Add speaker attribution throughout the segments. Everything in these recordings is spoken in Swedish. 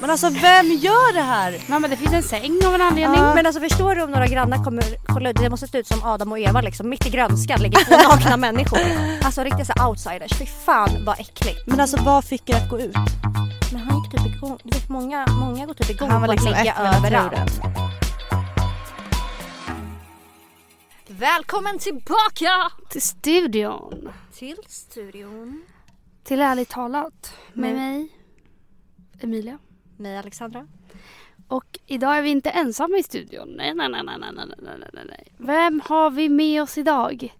Speaker 1: Men alltså vem gör det här?
Speaker 2: Mamma det finns en säng av en anledning.
Speaker 3: Men alltså förstår du om några grannar kommer, kolla det måste se ut som Adam och Eva liksom. Mitt i grönskan ligger två nakna människor. Alltså riktiga så här outsiders. Fy fan vad äckligt.
Speaker 1: Men alltså vad fick er att gå ut?
Speaker 3: Men han gick typ igång, du vet många, många går typ igång
Speaker 1: Han var
Speaker 3: på att
Speaker 1: liksom
Speaker 3: ligga
Speaker 1: ett med
Speaker 3: överallt.
Speaker 1: naturen.
Speaker 3: Välkommen tillbaka!
Speaker 2: Till studion.
Speaker 3: Till studion.
Speaker 2: Till ärligt talat. Med
Speaker 3: Mm.
Speaker 2: mig. Emilia.
Speaker 3: Mig Alexandra.
Speaker 2: Och idag är vi inte ensamma i studion. Nej, nej, nej, nej, nej, nej, nej, nej, nej, nej. Vem har vi med oss idag?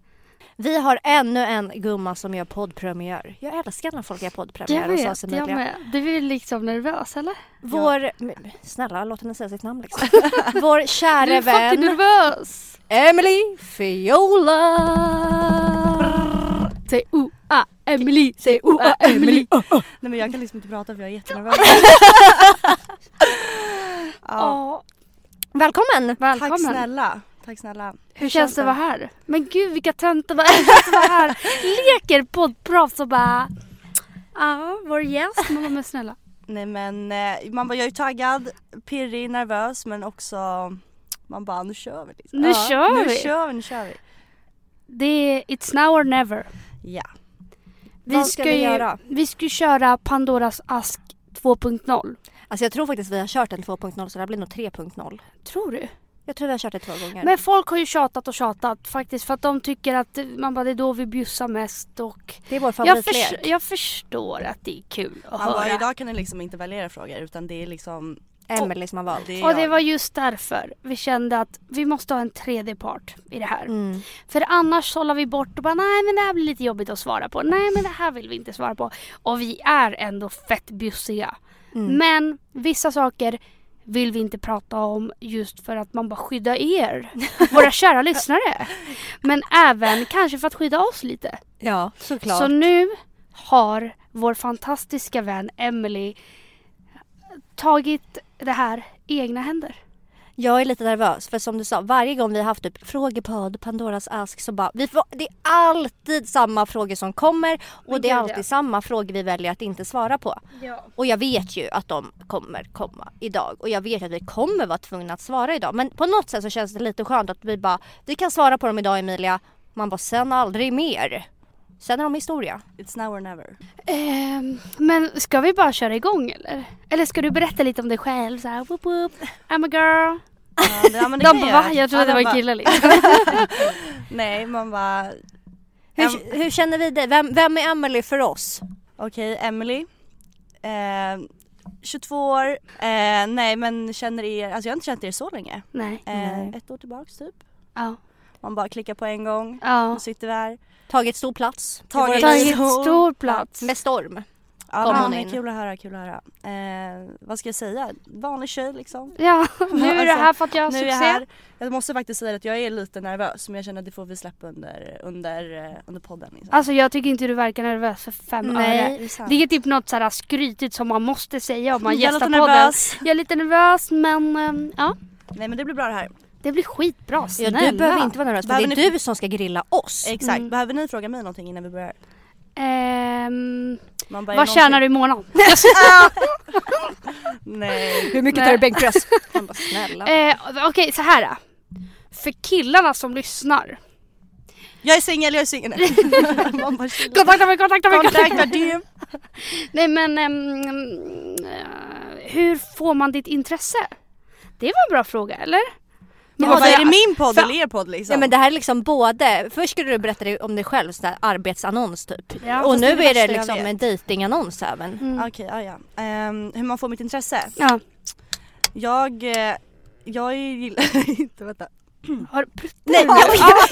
Speaker 3: Vi har ännu en gumma som gör poddpremiär. Jag älskar när folk gör poddpremiär hos oss
Speaker 2: jag
Speaker 3: Emilia.
Speaker 2: med. Du är liksom nervös eller?
Speaker 3: Vår, men snälla låt henne säga sitt namn liksom. Vår
Speaker 2: Du är
Speaker 3: käre
Speaker 2: fucking
Speaker 3: vän
Speaker 2: nervös!
Speaker 3: Emily Fiola.
Speaker 2: Säg O-A, Emily, säg O-A, Emily.
Speaker 1: Nej men jag kan liksom inte prata för jag är jättenervös. ja.
Speaker 2: Ja,
Speaker 3: Välkommen!
Speaker 1: Tack
Speaker 2: välkommen.
Speaker 1: snälla. Tack snälla.
Speaker 2: Hur känns det att vara här? Men gud vilka töntar vad är det att vara här? Leker poddproffs och bara... Ja, vår gäst. Mamma men snälla.
Speaker 1: Nej men eh, man bara, jag är ju taggad, pirrig, nervös men också man bara nu kör vi. Liksom.
Speaker 2: Nu kör
Speaker 1: Nu
Speaker 2: vi.
Speaker 1: kör vi, nu kör vi.
Speaker 2: Det är It's now or never.
Speaker 1: Ja.
Speaker 2: Vi
Speaker 3: Vad ska vi
Speaker 2: ju-
Speaker 3: göra?
Speaker 2: Vi ska ju köra Pandoras ask 2.0.
Speaker 3: Alltså jag tror faktiskt vi har kört en 2.0 så det här blir nog 3.0.
Speaker 2: Tror du?
Speaker 3: Jag tror vi har kört det två gånger.
Speaker 2: Men folk har ju tjatat och tjatat faktiskt för att de tycker att man bara det är då vi bjussar mest och
Speaker 3: det är vår
Speaker 2: jag,
Speaker 3: favoritlek.
Speaker 2: förs- jag förstår att det är kul att
Speaker 1: Man bara,
Speaker 2: höra.
Speaker 1: idag kan ni liksom inte välja era frågor utan det är liksom
Speaker 3: Emelie som har valt.
Speaker 1: det är
Speaker 2: Och det
Speaker 1: jag.
Speaker 2: var just därför vi kände att vi måste ha en tredje part i det här.
Speaker 3: Mm.
Speaker 2: För annars sållar vi bort och bara nej men det här blir lite jobbigt att svara på. Nej men det här vill vi inte svara på. Och vi är ändå fett bjussiga.
Speaker 3: Mm.
Speaker 2: Men vissa saker vill vi inte prata om just för att man bara skyddar er, våra kära lyssnare. Men även kanske för att skydda oss lite.
Speaker 3: Ja, såklart.
Speaker 2: Så nu har vår fantastiska vän Emily tagit det här i egna händer.
Speaker 3: Jag är lite nervös för som du sa, varje gång vi har haft typ frågepodd, Pandoras ask så bara, vi får, det är alltid samma frågor som kommer och
Speaker 2: Men
Speaker 3: det är
Speaker 2: gud,
Speaker 3: alltid
Speaker 2: ja.
Speaker 3: samma frågor vi väljer att inte svara på. Och jag vet ju att de kommer komma idag och jag vet att vi kommer vara tvungna att svara idag. Men på något sätt så känns det lite skönt att vi bara, vi kan svara på dem idag Emilia. Man bara, sen aldrig mer. Sen är de historia.
Speaker 1: It's now or never.
Speaker 2: Ehm, men ska vi bara köra igång eller? Eller ska du berätta lite om dig själv? Så här, whoop, whoop. I'm a girl.
Speaker 1: Ja, det- ja, men det
Speaker 2: De
Speaker 1: kan
Speaker 2: bara
Speaker 1: jag göra.
Speaker 2: va? Jag trodde
Speaker 1: Ja,
Speaker 2: det
Speaker 1: de
Speaker 2: var
Speaker 1: bara,
Speaker 2: en kille liksom.
Speaker 1: Nej man bara
Speaker 3: Hur, hur känner vi dig? Vem, vem är Emily för oss?
Speaker 1: Okej, Emily. Eh, 22 år. Eh, nej men känner er, alltså jag har inte känt er så länge.
Speaker 2: Nej.
Speaker 1: Eh,
Speaker 3: Nej.
Speaker 1: ett år tillbaks typ.
Speaker 2: Ja.
Speaker 1: Man bara klickar på en gång.
Speaker 2: Ja.
Speaker 1: Nu sitter vi här.
Speaker 3: Tagit stor plats. i
Speaker 1: Tagit-
Speaker 3: våra
Speaker 2: Tagit
Speaker 3: liv.
Speaker 2: stor plats.
Speaker 3: Med storm.
Speaker 1: Ja,
Speaker 3: Kom
Speaker 1: men
Speaker 3: hon
Speaker 1: det är
Speaker 3: in.
Speaker 1: Kul att höra, kul att höra. Eh, vad ska jag säga? Vanlig tjej liksom.
Speaker 2: Ja, nu är du
Speaker 1: Alltså,
Speaker 2: här för att jag har
Speaker 1: Nu är jag
Speaker 2: succé.
Speaker 1: här. Jag måste faktiskt säga att jag är lite nervös men jag känner att det får vi släppa under, under, eh, under podden. Liksom.
Speaker 2: Alltså jag tycker inte du verkar nervös för fem öre.
Speaker 3: Nej.
Speaker 1: det är sant.
Speaker 2: Det är typ något så här skrytigt som man måste säga om man
Speaker 1: jag är
Speaker 2: gästar
Speaker 1: lite
Speaker 2: podden.
Speaker 1: nervös.
Speaker 2: Jag är lite nervös men ehm, ja,
Speaker 1: Nej men det blir bra det här.
Speaker 2: det blir skitbra.
Speaker 3: Ja,
Speaker 2: Snälla.
Speaker 3: du behöver inte vara nervös för det
Speaker 1: Behöver ni-
Speaker 3: är du som ska grilla oss.
Speaker 1: Exakt.
Speaker 2: Mm.
Speaker 1: Behöver ni fråga mig någonting innan vi börjar?
Speaker 2: Ehm,
Speaker 1: Man bara, är
Speaker 2: vad
Speaker 1: det
Speaker 2: tjänar
Speaker 1: någonting-
Speaker 2: du i månaden?
Speaker 1: Nej.
Speaker 3: Alltså, Hur mycket
Speaker 2: Nej. tar du
Speaker 3: bänkpress? Man bara snälla.
Speaker 2: Eh, Okej, så här. då. För killarna som lyssnar.
Speaker 1: Jag är singel, jag är singel. Man bara, chilla.
Speaker 2: Kontakta mig, kontakta mig, kontakta mig.
Speaker 1: Kontakta DM.
Speaker 2: Nej men, ehm, eh, hur får man ditt intresse? Det var en bra fråga, eller?
Speaker 1: Man
Speaker 3: Ja,
Speaker 1: bara,
Speaker 3: det-
Speaker 1: är det min podd
Speaker 2: för-
Speaker 1: eller er podd liksom?
Speaker 3: Nej men det här är liksom både, först skulle du berätta dig om dig själv, sån där arbetsannons typ.
Speaker 2: Ja,
Speaker 3: och
Speaker 1: fast
Speaker 3: nu
Speaker 1: det är det
Speaker 3: är
Speaker 1: värsta
Speaker 3: det
Speaker 1: jag
Speaker 3: liksom
Speaker 1: vet.
Speaker 3: en dejtingannons även.
Speaker 2: Mm.
Speaker 1: Okej, ja, ja. Ehm, hur man får mitt intresse?
Speaker 2: Ja.
Speaker 1: Jag, eh, jag gillar inte, vänta.
Speaker 2: Har du pruttat?
Speaker 3: Nej jag,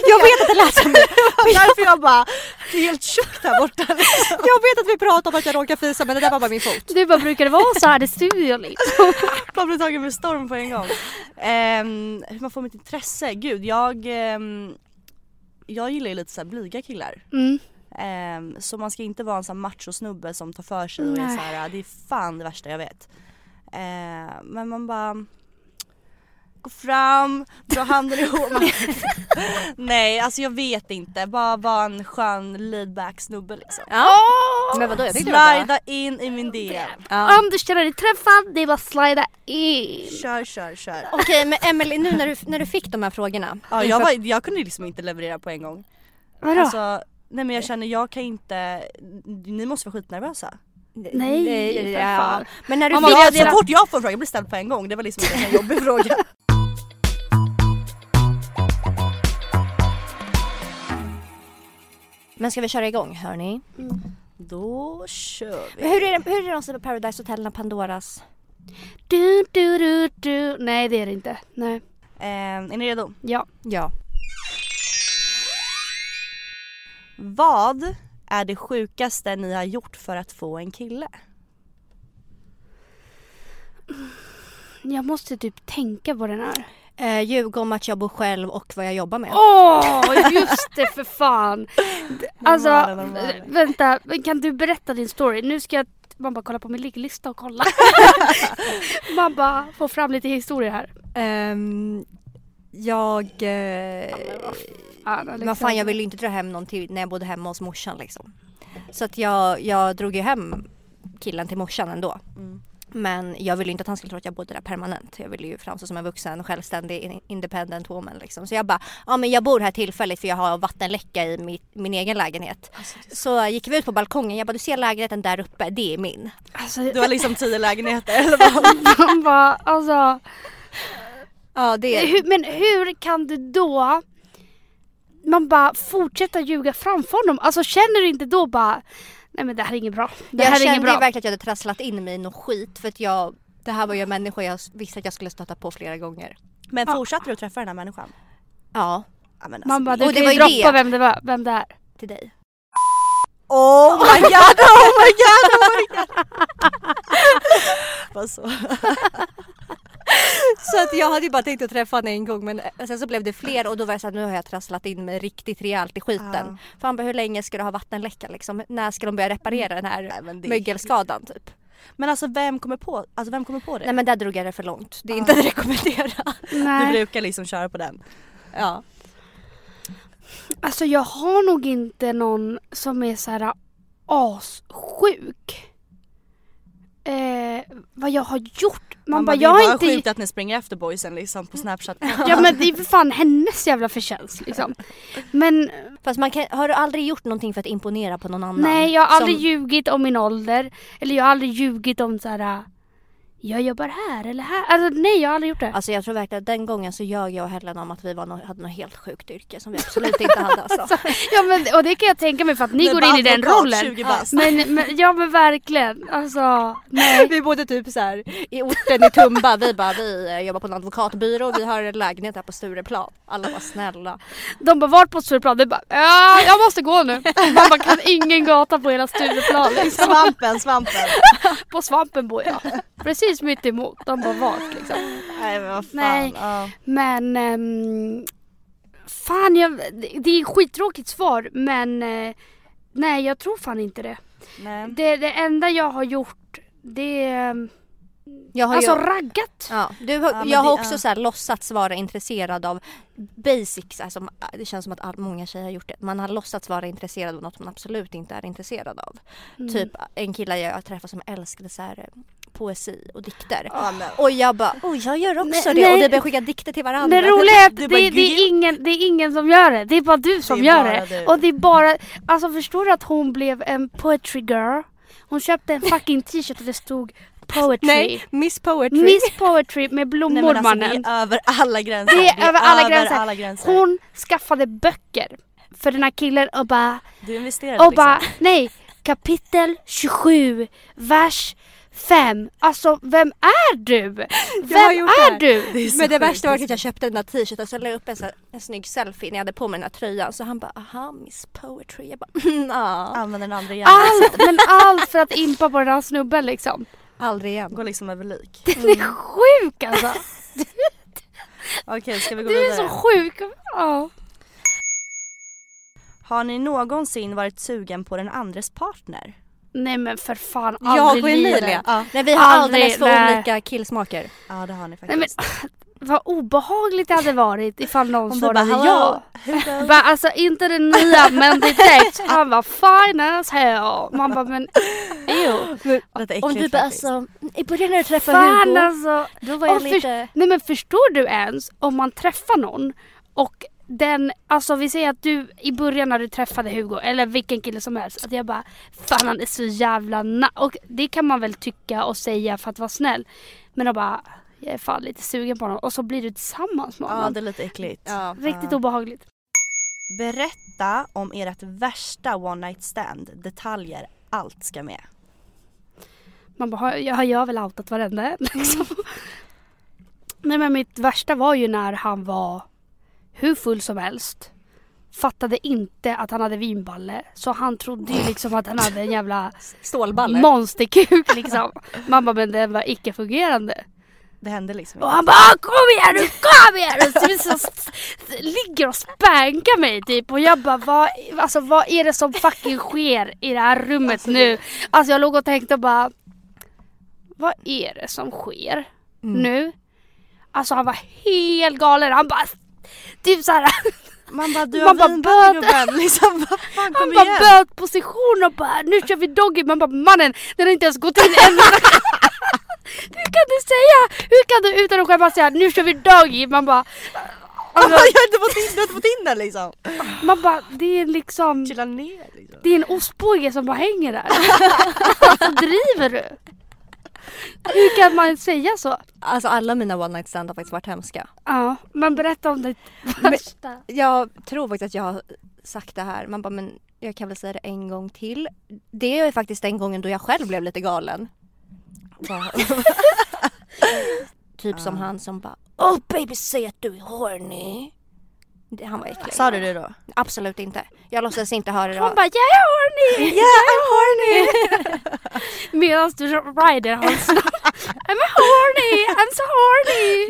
Speaker 3: jag vet att det lät som
Speaker 1: Därför jag bara, det är helt tjockt här borta. liksom.
Speaker 3: Jag vet att vi pratade om att jag råkar fisa men det där var bara min fot.
Speaker 2: Du bara, brukar det vara så här i studion liksom?
Speaker 1: Man blir tagen med storm på en gång. Ehm, hur man får mitt intresse? Gud, jag, ehm, jag gillar ju lite så här blyga killar.
Speaker 2: Mm.
Speaker 1: Ehm, så man ska inte vara en sån här machosnubbe som tar för sig och är
Speaker 2: Nej.
Speaker 1: så här, det är fan det värsta jag vet. Ehm, men man bara gå fram, dra handen i håret. Nej alltså jag vet inte, bara vara en skön laidback snubbe liksom.
Speaker 3: Ja. Men vadå jag tyckte det var bra.
Speaker 1: Slida in i min DM.
Speaker 3: Ja.
Speaker 2: Anders känner dig träffad, det är bara att slida in.
Speaker 1: Kör kör kör.
Speaker 3: Okej men Emelie nu när du, när du fick de här frågorna.
Speaker 1: Ja, jag, var, jag kunde liksom inte leverera på en gång.
Speaker 2: Vadå?
Speaker 1: Alltså, nej men jag känner jag kan inte, ni måste vara skitnervösa.
Speaker 2: Nej, för fan.
Speaker 3: Eh, Men när du
Speaker 1: Ja,
Speaker 3: fick
Speaker 1: jag,
Speaker 3: dina-
Speaker 1: så fort jag får en fråga, jag blir ställd på en gång. Det var liksom en jobbig fråga.
Speaker 3: Men ska vi köra igång hörni?
Speaker 1: Då kör vi.
Speaker 3: Men Hur är det, hur är det någonsin på Paradise Hotel när Pandoras?
Speaker 2: Du, du, du, du. Nej det är det inte. Nej.
Speaker 1: Eh, är ni redo?
Speaker 2: Ja.
Speaker 3: Ja.
Speaker 1: Vad är det sjukaste ni har gjort för att få en kille?
Speaker 2: Jag måste typ tänka på den här.
Speaker 3: Eh, ljug om att jag bor själv och vad jag jobbar med.
Speaker 2: Åh, just det för fan. Alltså,
Speaker 1: Normalen, normalen.
Speaker 2: vänta. men Kan du berätta din story? Nu ska jag man bara kolla på min ligglista och kolla. man bara får fram lite historier här.
Speaker 3: Ehm, jag... Eh,
Speaker 2: Fan, Alexander.
Speaker 3: vad fan jag ville ju inte dra hem någon till när jag bodde hemma hos morsan liksom. Så att jag, jag drog ju hem killen till morsan ändå.
Speaker 1: Mm.
Speaker 3: Men jag ville ju inte att han skulle tro att jag bodde där permanent. Jag ville ju framstå som en vuxen, självständig, in- independent woman liksom. Så jag bara, ja men jag bor här tillfälligt för jag har vattenläcka i mitt, min egen lägenhet.
Speaker 1: Alltså,
Speaker 3: Så gick vi ut på balkongen, jag bara du ser lägenheten där uppe, det är min.
Speaker 2: Alltså,
Speaker 1: Du har liksom tio lägenheter eller vad?
Speaker 2: man bara, alltså.
Speaker 3: Ja det
Speaker 2: Hur, men hur kan du då man bara fortsätta ljuga framför honom? Alltså känner du inte då bara nej men det här är inget bra. Det
Speaker 3: jag
Speaker 2: här är
Speaker 3: kände
Speaker 2: inget
Speaker 3: ju
Speaker 2: bra.
Speaker 3: verkligen att jag hade trasslat in mig i något skit för att jag, det här var ju en människa jag s- visste att jag skulle stöta på flera gånger.
Speaker 1: Men fortsatte du träffa den här människan?
Speaker 3: Ja,
Speaker 1: Ja, men alltså,
Speaker 2: Man bara
Speaker 1: det-
Speaker 2: du
Speaker 3: och det
Speaker 2: kan ju
Speaker 3: var ju
Speaker 2: droppa
Speaker 3: det.
Speaker 2: vem det var, vem det är.
Speaker 3: till dig.
Speaker 1: Oh my god, oh my god, oh my god! Bara så.
Speaker 3: Så att jag hade ju bara tänkt att träffa honom en gång men eh, sen så blev det fler och då var jag såhär nu har jag trasslat in mig riktigt rejält i skiten.
Speaker 1: Ja.
Speaker 3: För han bara hur länge ska du ha vattenläcka liksom? När ska de börja reparera den här
Speaker 1: Nej, men det-
Speaker 3: mögelskadan typ?
Speaker 1: Men alltså vem kommer på, alltså, vem kommer på det?
Speaker 3: Nej men där drog jag det för långt. Det är inte att rekommendera.
Speaker 1: Du
Speaker 2: Nej.
Speaker 1: brukar liksom köra på den.
Speaker 3: Ja.
Speaker 2: Alltså jag har nog inte någon som är så här assjuk. Eh, vad jag har gjort. Man, bara,
Speaker 1: det
Speaker 2: jag
Speaker 1: är
Speaker 2: har
Speaker 1: bara
Speaker 2: inte...
Speaker 1: sjukt att ni springer efter boysen liksom på snapchat.
Speaker 2: Ja men det är för fan hennes jävla förtjänst liksom. Men
Speaker 3: Fast man kan, har du aldrig gjort någonting för att imponera på någon annan?
Speaker 2: Nej, jag har aldrig
Speaker 3: Som-
Speaker 2: ljugit om min ålder. Eller jag har aldrig ljugit om så här. äh, Jag jobbar här eller här. Alltså nej, jag har aldrig gjort det.
Speaker 3: Alltså jag tror verkligen att den gången så ljög jag och Helen om att vi var nå- hade något helt sjukt yrke som vi absolut inte hade alltså.
Speaker 2: Ja, men, och det kan jag tänka mig för att ni
Speaker 1: är
Speaker 2: går
Speaker 1: bara
Speaker 2: in i den
Speaker 1: advokat,
Speaker 2: rollen.
Speaker 1: 20 bast.
Speaker 2: Men, men, ja men verkligen. Alltså nej.
Speaker 3: Vi bodde typ så här i orten i Tumba, vi bara vi eh, jobbar på en advokatbyrå och vi har en lägenhet här på Stureplan. Alla var snälla.
Speaker 2: De bara vart på Stureplan? Du bara ja, jag måste gå nu. Man bara kan ingen gata på hela Stureplan. Liksom.
Speaker 1: Svampen, svampen.
Speaker 2: På Svampen bor jag. Precis mitt emot. De bara vart liksom.
Speaker 1: Nej men vad fan.
Speaker 2: Nej.
Speaker 1: Ja.
Speaker 2: Men... ehm, fan, jag, det- det är ett skittråkigt svar men... eh, nej, jag tror fan inte det.
Speaker 1: Nej.
Speaker 2: Det, det enda jag har gjort det är... ehm,
Speaker 3: Jag har
Speaker 2: alltså
Speaker 3: ju,
Speaker 2: raggat.
Speaker 3: ja, du,
Speaker 1: Ja,
Speaker 3: har
Speaker 1: men
Speaker 3: jag har
Speaker 1: det-
Speaker 3: också
Speaker 1: ja.
Speaker 3: så här låtsats vara intresserad av basics. Alltså, det känns som att all, många tjejer har gjort det. Man har låtsats vara intresserad av något man absolut inte är intresserad av.
Speaker 2: Mm.
Speaker 3: Typ en kille jag träffade som älskade så här, eh, poesi och dikter.
Speaker 1: Ja, men.
Speaker 3: Och jag bara, oh jag gör också
Speaker 2: Nej,
Speaker 3: det och
Speaker 2: nej.
Speaker 3: vi började skicka dikter till varandra.
Speaker 2: Det roliga är att
Speaker 1: Det
Speaker 2: det,
Speaker 1: är bara
Speaker 2: det,
Speaker 1: gud.
Speaker 2: är ingen, det är ingen som gör det. Det är bara du som
Speaker 1: Det är
Speaker 2: gör
Speaker 1: bara
Speaker 2: det.
Speaker 1: du.
Speaker 2: Och det är bara... Alltså förstår du att hon blev en poetry girl? Hon köpte en fucking t-shirt och det stod poetry.
Speaker 3: Nej, Miss Poetry.
Speaker 2: Miss poetry med blommor
Speaker 1: Nej men alltså det
Speaker 2: mannen.
Speaker 1: är över alla gränser.
Speaker 2: Det är över alla
Speaker 1: över
Speaker 2: gränser.
Speaker 1: alla gränser.
Speaker 2: Hon skaffade böcker för den här killen och bara,
Speaker 1: Du investerade
Speaker 2: och
Speaker 1: liksom.
Speaker 2: bara nej, kapitel 27, vers 5. Alltså vem är du?
Speaker 3: Jag har
Speaker 2: Vem
Speaker 3: gjort
Speaker 2: är
Speaker 3: det.
Speaker 2: du?
Speaker 1: är så
Speaker 3: Men det
Speaker 1: sjukt.
Speaker 3: värsta var att jag köpte den här t-shirten och så la jag upp en, så här, en snygg selfie när jag hade på mig den här tröjan så han bara aha Miss Poetry. Jag bara mm, ja.
Speaker 1: Använder den andra hjärnan.
Speaker 2: Allt, men allt för att impa på den här snubben liksom.
Speaker 3: Aldrig igen.
Speaker 1: Går liksom över lik.
Speaker 2: Den är
Speaker 3: Mm.
Speaker 2: sjuk alltså.
Speaker 1: Okej ska vi gå
Speaker 2: Du är så
Speaker 1: vidare.
Speaker 2: sjuk. Ja.
Speaker 1: Har ni någonsin varit sugen på den andres partner?
Speaker 2: Nej men för fan,
Speaker 3: Jag och
Speaker 2: aldrig i livet.
Speaker 3: Emilia. Nej vi har
Speaker 2: Aldrig,
Speaker 3: alldeles för
Speaker 2: nej.
Speaker 3: olika killsmaker.
Speaker 1: Ja det har ni
Speaker 2: Nej men
Speaker 1: faktiskt.
Speaker 2: vad obehagligt det hade varit ifall någon
Speaker 1: Om du bara
Speaker 2: svarade
Speaker 1: hallå,
Speaker 2: ja.
Speaker 1: hej då.
Speaker 2: Bara, alltså inte det nya men direkt. Han var fine as hell. Man bara men ew.
Speaker 1: Lite
Speaker 3: Om du
Speaker 1: äckligt
Speaker 3: bara
Speaker 1: faktiskt.
Speaker 3: alltså, i början när du träffade
Speaker 2: Fan
Speaker 3: Hugo,
Speaker 2: alltså.
Speaker 3: då var jag
Speaker 2: Åh, för-
Speaker 3: lite...
Speaker 2: Nej men förstår du ens om man träffar någon och den, alltså vi säger att du i början när du träffade Hugo eller vilken kille som helst att jag bara Fan han är så jävla na och det kan man väl tycka och säga för att vara snäll men jag bara jag är fan lite sugen på honom och så blir du tillsammans med
Speaker 1: Ja
Speaker 2: honom.
Speaker 1: det är lite äckligt.
Speaker 3: Ja.
Speaker 2: Riktigt
Speaker 1: Ja.
Speaker 2: obehagligt.
Speaker 1: Berätta om ert värsta one night stand. Detaljer, allt ska med.
Speaker 2: Man bara, har jag, har jag väl outat varenda en, liksom. Nej men mitt värsta var ju när han var hur full som helst. Fattade inte att han hade vinballe. Så han trodde ju liksom att han hade en jävla
Speaker 3: Stålballe.
Speaker 2: monsterkuk liksom. Man bara, men den var icke-fungerande.
Speaker 1: Det hände liksom
Speaker 2: Och
Speaker 1: inte.
Speaker 2: han bara, "Ah, kom igen nu, kom igen nu! Så, vi så, ligger och spankar mig typ. Och jag bara, vad, alltså, vad är det som fucking sker i det här rummet nu? Alltså jag låg och tänkte bara, vad är det som sker nu? Alltså han var helt galen. Han bara, typ såhär,
Speaker 1: Man bara du
Speaker 2: Man
Speaker 1: har
Speaker 2: bara,
Speaker 1: vinballe gubben liksom. Vad fan
Speaker 2: han
Speaker 1: kom
Speaker 2: bara
Speaker 1: igen.
Speaker 2: böt position och bara, nu kör vi doggy. Man bara, mannen, den har inte ens gått in än. Hur kan du säga, hur kan du utan att skämmas säga, nu kör vi doggy? Man bara, alltså,
Speaker 1: Han bara jag har inte fått in, du har inte fått in den liksom.
Speaker 2: Man bara, det är liksom,
Speaker 1: Chilla ner liksom.
Speaker 2: det är en ostbåge som bara hänger där. alltså driver du? Hur kan man säga så?
Speaker 3: Alltså alla mina one night stand har faktiskt varit hemska.
Speaker 2: Ja, men berätta om ditt värsta.
Speaker 3: Jag tror faktiskt att jag har sagt det här. Man bara, men jag kan väl säga det en gång till. Det är faktiskt den gången då jag själv blev lite galen. Bara- typ som han som bara, oh baby säg att du är horny. Det, han var äcklig.
Speaker 1: Sa du det då?
Speaker 3: Absolut inte. Jag låtsades inte höra det.
Speaker 2: Hon bara, jag är horny!
Speaker 1: Yeah I'm horny!
Speaker 2: Medan du rider hans I'm horny, I'm so horny!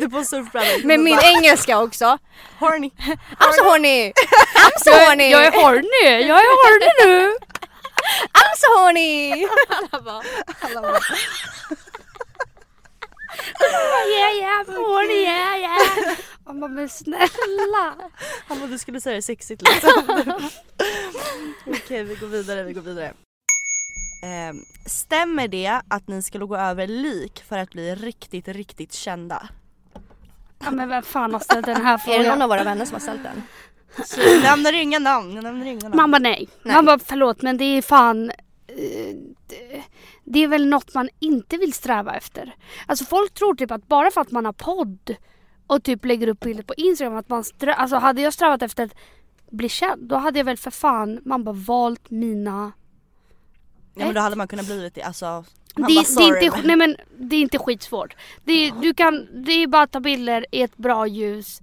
Speaker 1: Du på surfbrädan.
Speaker 3: Med min engelska också.
Speaker 1: horny.
Speaker 3: I'm so horny! I'm so horny!
Speaker 2: Jag är horny, jag är horny nu!
Speaker 3: I'm so horny!
Speaker 2: Yeah yeah, I'm horny yeah yeah! Man bara, men snälla!
Speaker 1: Han bara du skulle säga det sexigt liksom. Okej vi går vidare, vi går vidare. Ehm, stämmer det att ni skulle gå över lik för att bli riktigt, riktigt kända?
Speaker 2: Ja, men vem fan har ställt den här
Speaker 3: Är det någon
Speaker 2: frågan?
Speaker 3: av våra vänner som har ställt den?
Speaker 1: Så jag nämner inga namn, jag nämner inga namn.
Speaker 2: Mamma nej.
Speaker 3: Nej.
Speaker 2: Mamma förlåt men det är fan eh, det- det är väl något man inte vill sträva efter. Alltså folk tror typ att bara för att man har podd och typ lägger upp bilder på Instagram att man strö- alltså hade jag strävat efter att bli känd då hade jag väl för fan man bara valt mina
Speaker 1: Ja, men då hade man kunnat blivit det alltså. Man
Speaker 2: det,
Speaker 1: bara,
Speaker 2: det, är
Speaker 1: "Sorry,
Speaker 2: inte, nej men, det är inte skitsvårt. Det är, du kan, det är bara att ta bilder i ett bra ljus,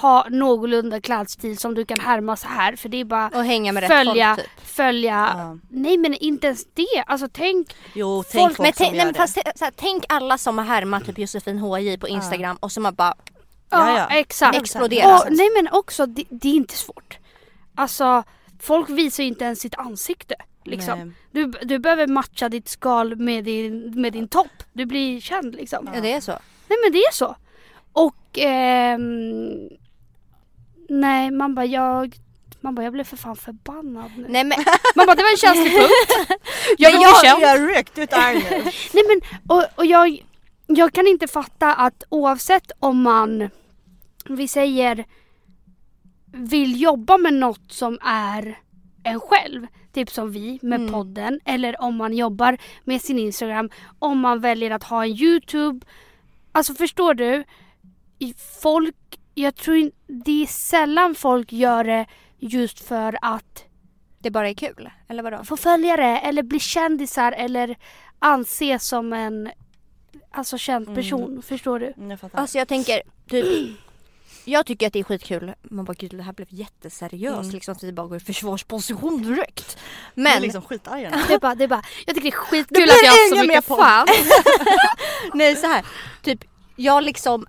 Speaker 2: ha någorlunda klädstil som du kan härma så här för det är bara
Speaker 3: Och hänga med rätt
Speaker 2: följa,
Speaker 3: folk typ?
Speaker 2: följa.
Speaker 1: Ja.
Speaker 2: Nej men inte ens det. Alltså tänk.
Speaker 1: Jo, tänk folk,
Speaker 3: Folk, men
Speaker 1: som
Speaker 3: tänk, nej,
Speaker 1: gör
Speaker 3: men
Speaker 1: det.
Speaker 3: fast, t- såhär, tänk alla som har härmat typ Josefin HJ på Instagram och som har bara
Speaker 1: Ja,
Speaker 2: Ja,
Speaker 1: ja.
Speaker 2: exakt.
Speaker 3: Exploderat.
Speaker 2: Och, nej men också det, det är inte svårt. Alltså folk visar ju inte ens sitt ansikte.
Speaker 1: Nej.
Speaker 2: Liksom. Du, du behöver matcha ditt skal med din, med din topp. Du blir känd liksom.
Speaker 3: Ja det är så.
Speaker 2: Nej men det är så. Och ehm, Nej man bara jag man bara jag blev för fan förbannad nu.
Speaker 3: Nej men
Speaker 2: Man bara det var en känslig punkt. Jag
Speaker 1: Men
Speaker 2: vill bli
Speaker 1: jag,
Speaker 2: känd.
Speaker 1: jag är riktigt arg nu.
Speaker 2: Nej men och, och jag, jag kan inte fatta att oavsett om man, vi säger, vill jobba med något som är en själv, typ som vi med podden, eller om man jobbar med sin Instagram, om man väljer att ha en YouTube. Alltså förstår du? I- Folk, jag tror in- det är sällan folk gör det just för att
Speaker 3: det bara är kul. Eller vadå?
Speaker 2: få följare eller bli kändisar eller anses som en alltså känd person. Förstår du?
Speaker 1: Mm, Jag fattar.
Speaker 3: Alltså jag tänker typ jag tycker att det är skitkul. Man bara gud det här blev jätteseriöst
Speaker 1: Mm.
Speaker 3: liksom. Så vi bara går i försvarsposition direkt.
Speaker 1: jag är
Speaker 3: Men
Speaker 1: liksom skitarg nu.
Speaker 2: Det är bara, det är bara jag tycker det är
Speaker 3: Det blir
Speaker 2: skitkul att jag har så
Speaker 3: inga mer
Speaker 2: mycket
Speaker 3: podd.
Speaker 2: fans.
Speaker 3: nej så här. typ jag liksom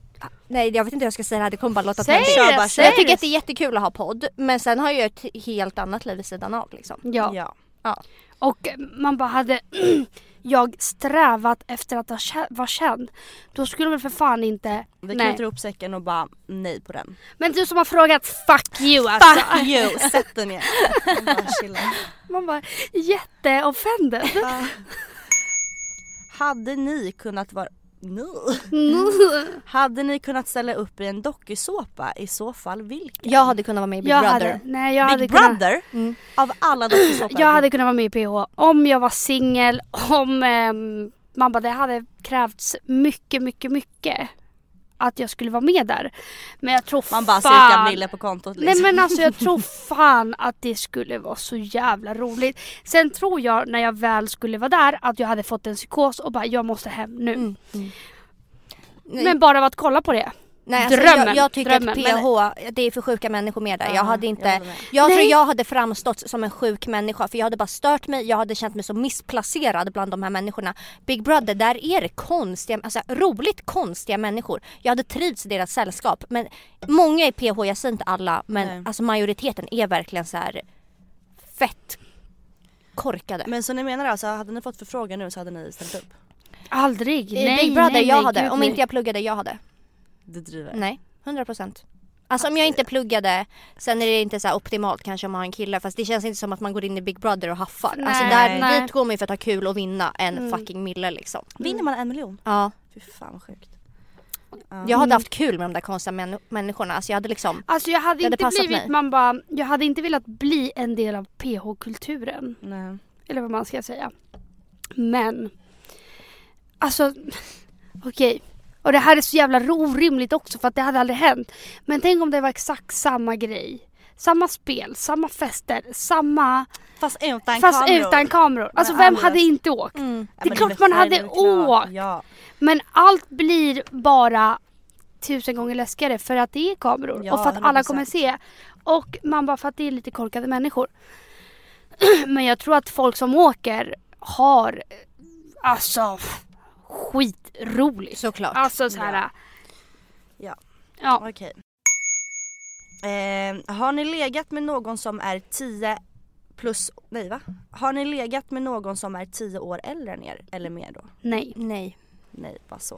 Speaker 3: Nej jag vet inte hur jag ska säga det här, det kommer bara låta
Speaker 2: Säg
Speaker 3: töntigt.
Speaker 1: Kör
Speaker 2: det,
Speaker 1: bara,
Speaker 2: säg
Speaker 3: Men jag tycker
Speaker 2: det.
Speaker 3: att det är jättekul att ha podd men sen har jag ett helt annat liv vid sidan av liksom.
Speaker 2: Ja,
Speaker 1: Ja.
Speaker 2: och man bara hade jag strävat efter att ha kä- vara känd. Då skulle väl för fan inte...
Speaker 1: Vi
Speaker 2: Nej.
Speaker 1: knyter ihop säcken och bara nej på den.
Speaker 2: Men du som har frågat, fuck you alltså.
Speaker 1: Fuck you, sätt dig ner. Jag bara, chilla.
Speaker 2: Man bara, jätteoffended.
Speaker 1: Ja. Hade ni kunnat vara ni.
Speaker 2: Mm.
Speaker 1: Hade ni kunnat ställa upp i en dokusåpa? I så fall vilken?
Speaker 3: Jag hade kunnat vara med i Big
Speaker 2: Jag
Speaker 3: Brother.
Speaker 2: hade, nej, jag hade
Speaker 1: Big
Speaker 2: kunnat,
Speaker 1: Brother?
Speaker 3: Mm.
Speaker 1: Av alla dokusåpor?
Speaker 2: Jag hade kunnat vara med i PH om jag var singel, om ehm, man bara, det hade krävts mycket, mycket, mycket att jag skulle vara med där. Men jag tror
Speaker 1: Man bara cirka
Speaker 2: fan...
Speaker 1: mille på kontot liksom.
Speaker 2: Nej men alltså jag tror fan att det skulle vara så jävla roligt. Sen tror jag när jag väl skulle vara där att jag hade fått en psykos och bara jag måste hem nu.
Speaker 3: Mm. Mm. Nej,
Speaker 2: Men bara av att kolla på det.
Speaker 3: nej, alltså,
Speaker 2: drömmen,
Speaker 3: Jag, jag tycker
Speaker 2: drömmen,
Speaker 3: att PH, det är för sjuka människor med där.
Speaker 1: Ja,
Speaker 3: Jag hade inte,
Speaker 1: håller med.
Speaker 3: Jag
Speaker 2: Nej.
Speaker 3: tror jag hade framstått som en sjuk människa för jag hade bara stört mig, jag hade känt mig så missplacerad bland de här människorna. Big Brother, där är det konstiga, alltså roligt konstiga människor. Jag hade trivts i deras sällskap men många i PH, jag säger inte alla men
Speaker 1: Nej.
Speaker 3: alltså majoriteten är verkligen så här fett korkade.
Speaker 1: Men så ni menar alltså, hade ni fått förfrågan nu så hade ni ställt upp?
Speaker 2: Aldrig.
Speaker 3: I
Speaker 2: Nej,
Speaker 3: Eh, Big Brother,
Speaker 2: nej,
Speaker 3: jag
Speaker 2: nej,
Speaker 3: hade,
Speaker 2: gud,
Speaker 3: om
Speaker 2: nej.
Speaker 3: inte jag pluggade, jag hade.
Speaker 1: Det driver.
Speaker 3: Nej, 100 procent. Alltså om jag inte pluggade, sen är det inte så här optimalt kanske om man har en kille fast det känns inte som att man går in i Big Brother och haffar. alltså
Speaker 2: Nej,
Speaker 3: där,
Speaker 2: nej.
Speaker 3: dit går man ju för att ha kul och vinna en
Speaker 2: Mm.
Speaker 3: fucking mille liksom.
Speaker 1: Vinner man en miljon?
Speaker 3: Ja.
Speaker 1: Fy fan vad sjukt.
Speaker 3: Jag
Speaker 2: Mm.
Speaker 3: hade haft kul med de där konstiga män- människorna. Alltså jag hade liksom,
Speaker 2: Alltså jag hade
Speaker 3: Det hade
Speaker 2: inte
Speaker 3: passat
Speaker 2: blivit,
Speaker 3: mig.
Speaker 2: man bara, jag hade inte velat bli en del av PH-kulturen.
Speaker 1: Nej.
Speaker 2: Eller vad man ska säga. Men. Alltså. Okej. Och det här är så jävla ro- orimligt också för att det hade aldrig hänt. Men tänk om det var exakt samma grej. Samma spel, samma fester, samma...
Speaker 1: Fast utan
Speaker 2: fast
Speaker 1: kameror.
Speaker 2: utan kameror. Alltså
Speaker 1: Men
Speaker 2: vem
Speaker 1: Andreas-
Speaker 2: hade inte åkt?
Speaker 1: Ja,
Speaker 2: det är
Speaker 1: men
Speaker 2: klart
Speaker 1: vet,
Speaker 2: man
Speaker 1: där
Speaker 2: hade
Speaker 1: är det klart.
Speaker 2: åkt.
Speaker 1: Ja.
Speaker 2: Men allt blir bara tusen gånger läskigare för att det är kameror
Speaker 1: Ja,
Speaker 2: och för att alla
Speaker 1: 100%.
Speaker 2: kommer se. Och man bara för att det är lite korkade människor. Men jag tror att folk som åker har eh, alltså skitroligt.
Speaker 3: såklart.
Speaker 2: Alltså så här.
Speaker 1: Ja.
Speaker 2: Ja.
Speaker 1: Okej. Eh, har ni legat med någon som är 10 plus, nej va? Har ni legat med någon som är 10 år äldre än er eller mer då?
Speaker 2: Nej.
Speaker 3: Nej.
Speaker 1: Nej, bara så.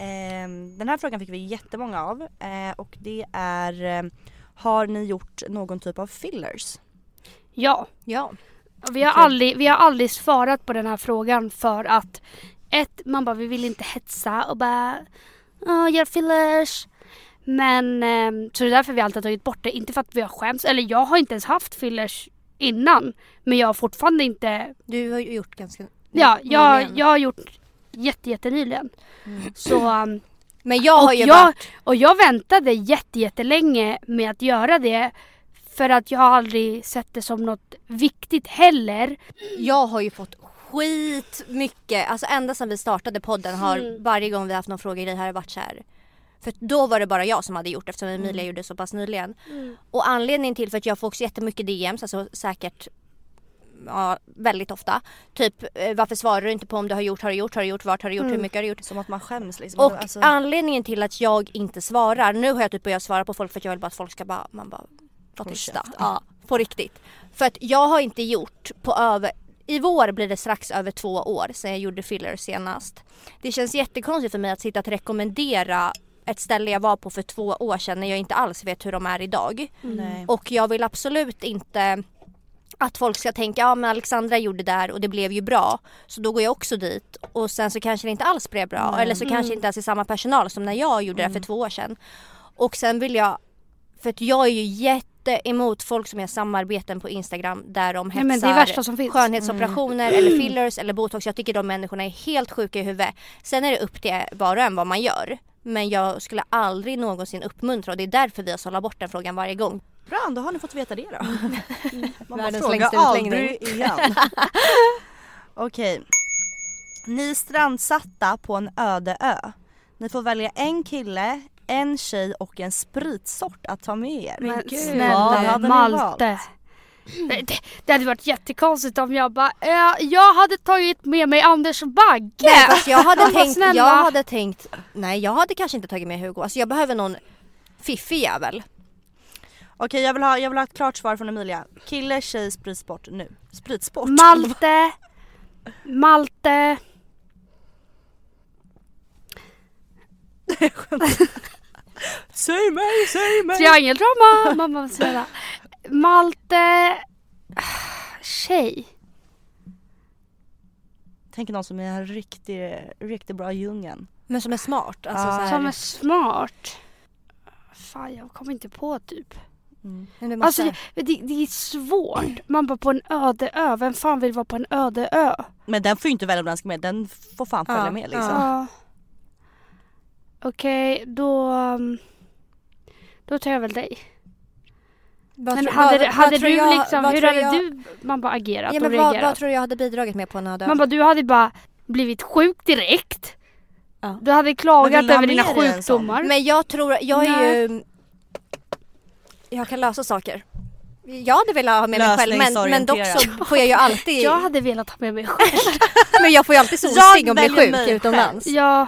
Speaker 1: Eh, den här frågan fick vi jättemånga av eh, och det är eh, har ni gjort någon typ av fillers?
Speaker 2: Ja.
Speaker 3: Ja.
Speaker 2: Vi har,
Speaker 1: Okej.
Speaker 2: aldrig, vi har aldrig svarat på den här frågan för att ett, man bara vi vill inte hetsa och bara "Åh, gör fillers. Men ehm, så det är därför vi alltid har tagit bort det. Inte för att vi har skämts eller jag har inte ens haft fillers innan. Men jag har fortfarande inte.
Speaker 3: Du har ju gjort ganska
Speaker 2: Ja, jag,
Speaker 3: nyligen.
Speaker 2: jag har gjort jätte, jättenyligen. Så, ehm,
Speaker 3: Men jag har
Speaker 2: och,
Speaker 3: ju
Speaker 2: jag,
Speaker 3: varit,
Speaker 2: och jag väntade jätte, jättelänge med att göra det. För att jag har aldrig sett det som något viktigt heller.
Speaker 3: jag har ju fått skit mycket. Alltså ända sedan vi startade podden har
Speaker 2: Mm.
Speaker 3: varje gång vi haft någon fråga i det här har det varit så här. För då var det bara jag som hade gjort eftersom Emilia gjorde det så pass nyligen. Och anledningen till för att jag får också jättemycket DMs, alltså säkert Ja, väldigt ofta. Typ eh, varför svarar du inte på om du har gjort, har du gjort, har du gjort, vart har du gjort, hur mycket har du gjort?
Speaker 1: Som att man skäms liksom.
Speaker 3: Och
Speaker 1: Alltså,
Speaker 3: anledningen till att jag inte svarar, nu har jag typ börjat svara på folk för att jag vill bara att folk ska bara, man bara, vara
Speaker 1: Håll
Speaker 3: tysta. Ja, på riktigt. För att jag har inte gjort på över, i vår blir det strax över två år sedan jag gjorde filler senast. Det känns jättekonstigt för mig att sitta och rekommendera ett ställe jag var på för två år sedan när jag inte alls vet hur de är idag.
Speaker 1: nej.
Speaker 3: Och jag vill absolut inte att folk ska tänka ja men Alexandra gjorde det där och det blev ju bra. Så då går jag också dit och sen så kanske det inte alls blev bra. Eller så
Speaker 2: Mm.
Speaker 3: kanske inte ens är samma personal som när jag gjorde det för två år sedan. Och sen vill jag, för att jag är ju jätte emot folk som gör samarbeten på Instagram där de
Speaker 2: Nej,
Speaker 3: hetsar
Speaker 2: men det är värsta som finns. Mm.
Speaker 3: skönhetsoperationer eller fillers eller botox. Jag tycker de människorna är helt sjuka i huvudet. Sen är det upp till var och en vad man gör. Men jag skulle aldrig någonsin uppmuntra och det är därför vi har sållat bort den frågan varje gång.
Speaker 1: Bra, då har ni fått veta det då. Man bara
Speaker 3: Världens
Speaker 1: frågar
Speaker 3: längsta
Speaker 1: aldrig
Speaker 3: utläggning.
Speaker 1: igen. Okej. Ni är strandsatta på en öde ö. Ni får välja en kille, en tjej och en spritsort att ta med er.
Speaker 2: Men
Speaker 1: Vad
Speaker 2: snälla
Speaker 1: hade ni valt?
Speaker 2: Malte. Det, det- det hade varit jättekonstigt om jag bara, eh, jag hade tagit med mig Anders Bagge.
Speaker 3: Nej, fast jag hade,
Speaker 2: Men vad
Speaker 3: tänkt,
Speaker 2: Alltså, snälla.
Speaker 3: jag hade tänkt, nej jag hade kanske inte tagit med Hugo. Alltså jag behöver någon fiffig jävel.
Speaker 1: Okej jag vill, ha, jag vill ha ett klart svar från Emilia. Kille, tjej, spritsport nu. Spritsport?
Speaker 2: Malte, Malte.
Speaker 1: Säg mig, säg mig!
Speaker 2: Triangeldrama! Mamma snälla. Malte. Tjej.
Speaker 1: Tänk någon som är en riktigt, riktigt bra djungeln.
Speaker 3: Men som är smart. Alltså
Speaker 1: Ja.
Speaker 3: så här,
Speaker 2: Som är smart. Fan jag kommer inte på typ.
Speaker 1: Mm.
Speaker 3: men det måste-
Speaker 2: Alltså det, det, det är svårt. Man bara på en öde ö. Vem fan vill vara på en öde ö?
Speaker 1: Men den får ju inte välja om den ska med, den får fan följa
Speaker 3: Ja,
Speaker 1: med liksom.
Speaker 3: ja.
Speaker 2: Ja. Okej då. um, Då tar jag väl dig.
Speaker 3: vad
Speaker 2: Men
Speaker 3: tror-
Speaker 2: hade,
Speaker 3: vad-
Speaker 2: hade
Speaker 3: vad
Speaker 2: du
Speaker 3: tror jag-
Speaker 2: liksom,
Speaker 3: vad
Speaker 2: hur
Speaker 3: tror
Speaker 2: hade
Speaker 3: jag-
Speaker 2: du man bara agerat
Speaker 3: Ja,
Speaker 2: och
Speaker 3: men vad,
Speaker 2: reagerat?
Speaker 3: vad tror du jag hade bidragit med på en öde ö?
Speaker 2: man bara, du hade bara blivit sjuk direkt.
Speaker 3: Ja.
Speaker 2: Du hade
Speaker 1: Men
Speaker 2: klagat
Speaker 1: vill du ha
Speaker 2: över dina
Speaker 1: med dig en sån?
Speaker 2: sjukdomar.
Speaker 3: Men jag tror, jag är
Speaker 2: Nej.
Speaker 3: ju... Jag kan lösa saker. Jag hade velat ha med mig själv men, men dock så
Speaker 1: Lösningsorienterad.
Speaker 3: får jag ju alltid,
Speaker 2: Jag hade velat ha med mig själv.
Speaker 3: men jag får ju alltid solsting
Speaker 1: Jag
Speaker 3: och blir
Speaker 1: väljer
Speaker 3: sjuk
Speaker 1: mig själv.
Speaker 3: utomlands.
Speaker 2: ja,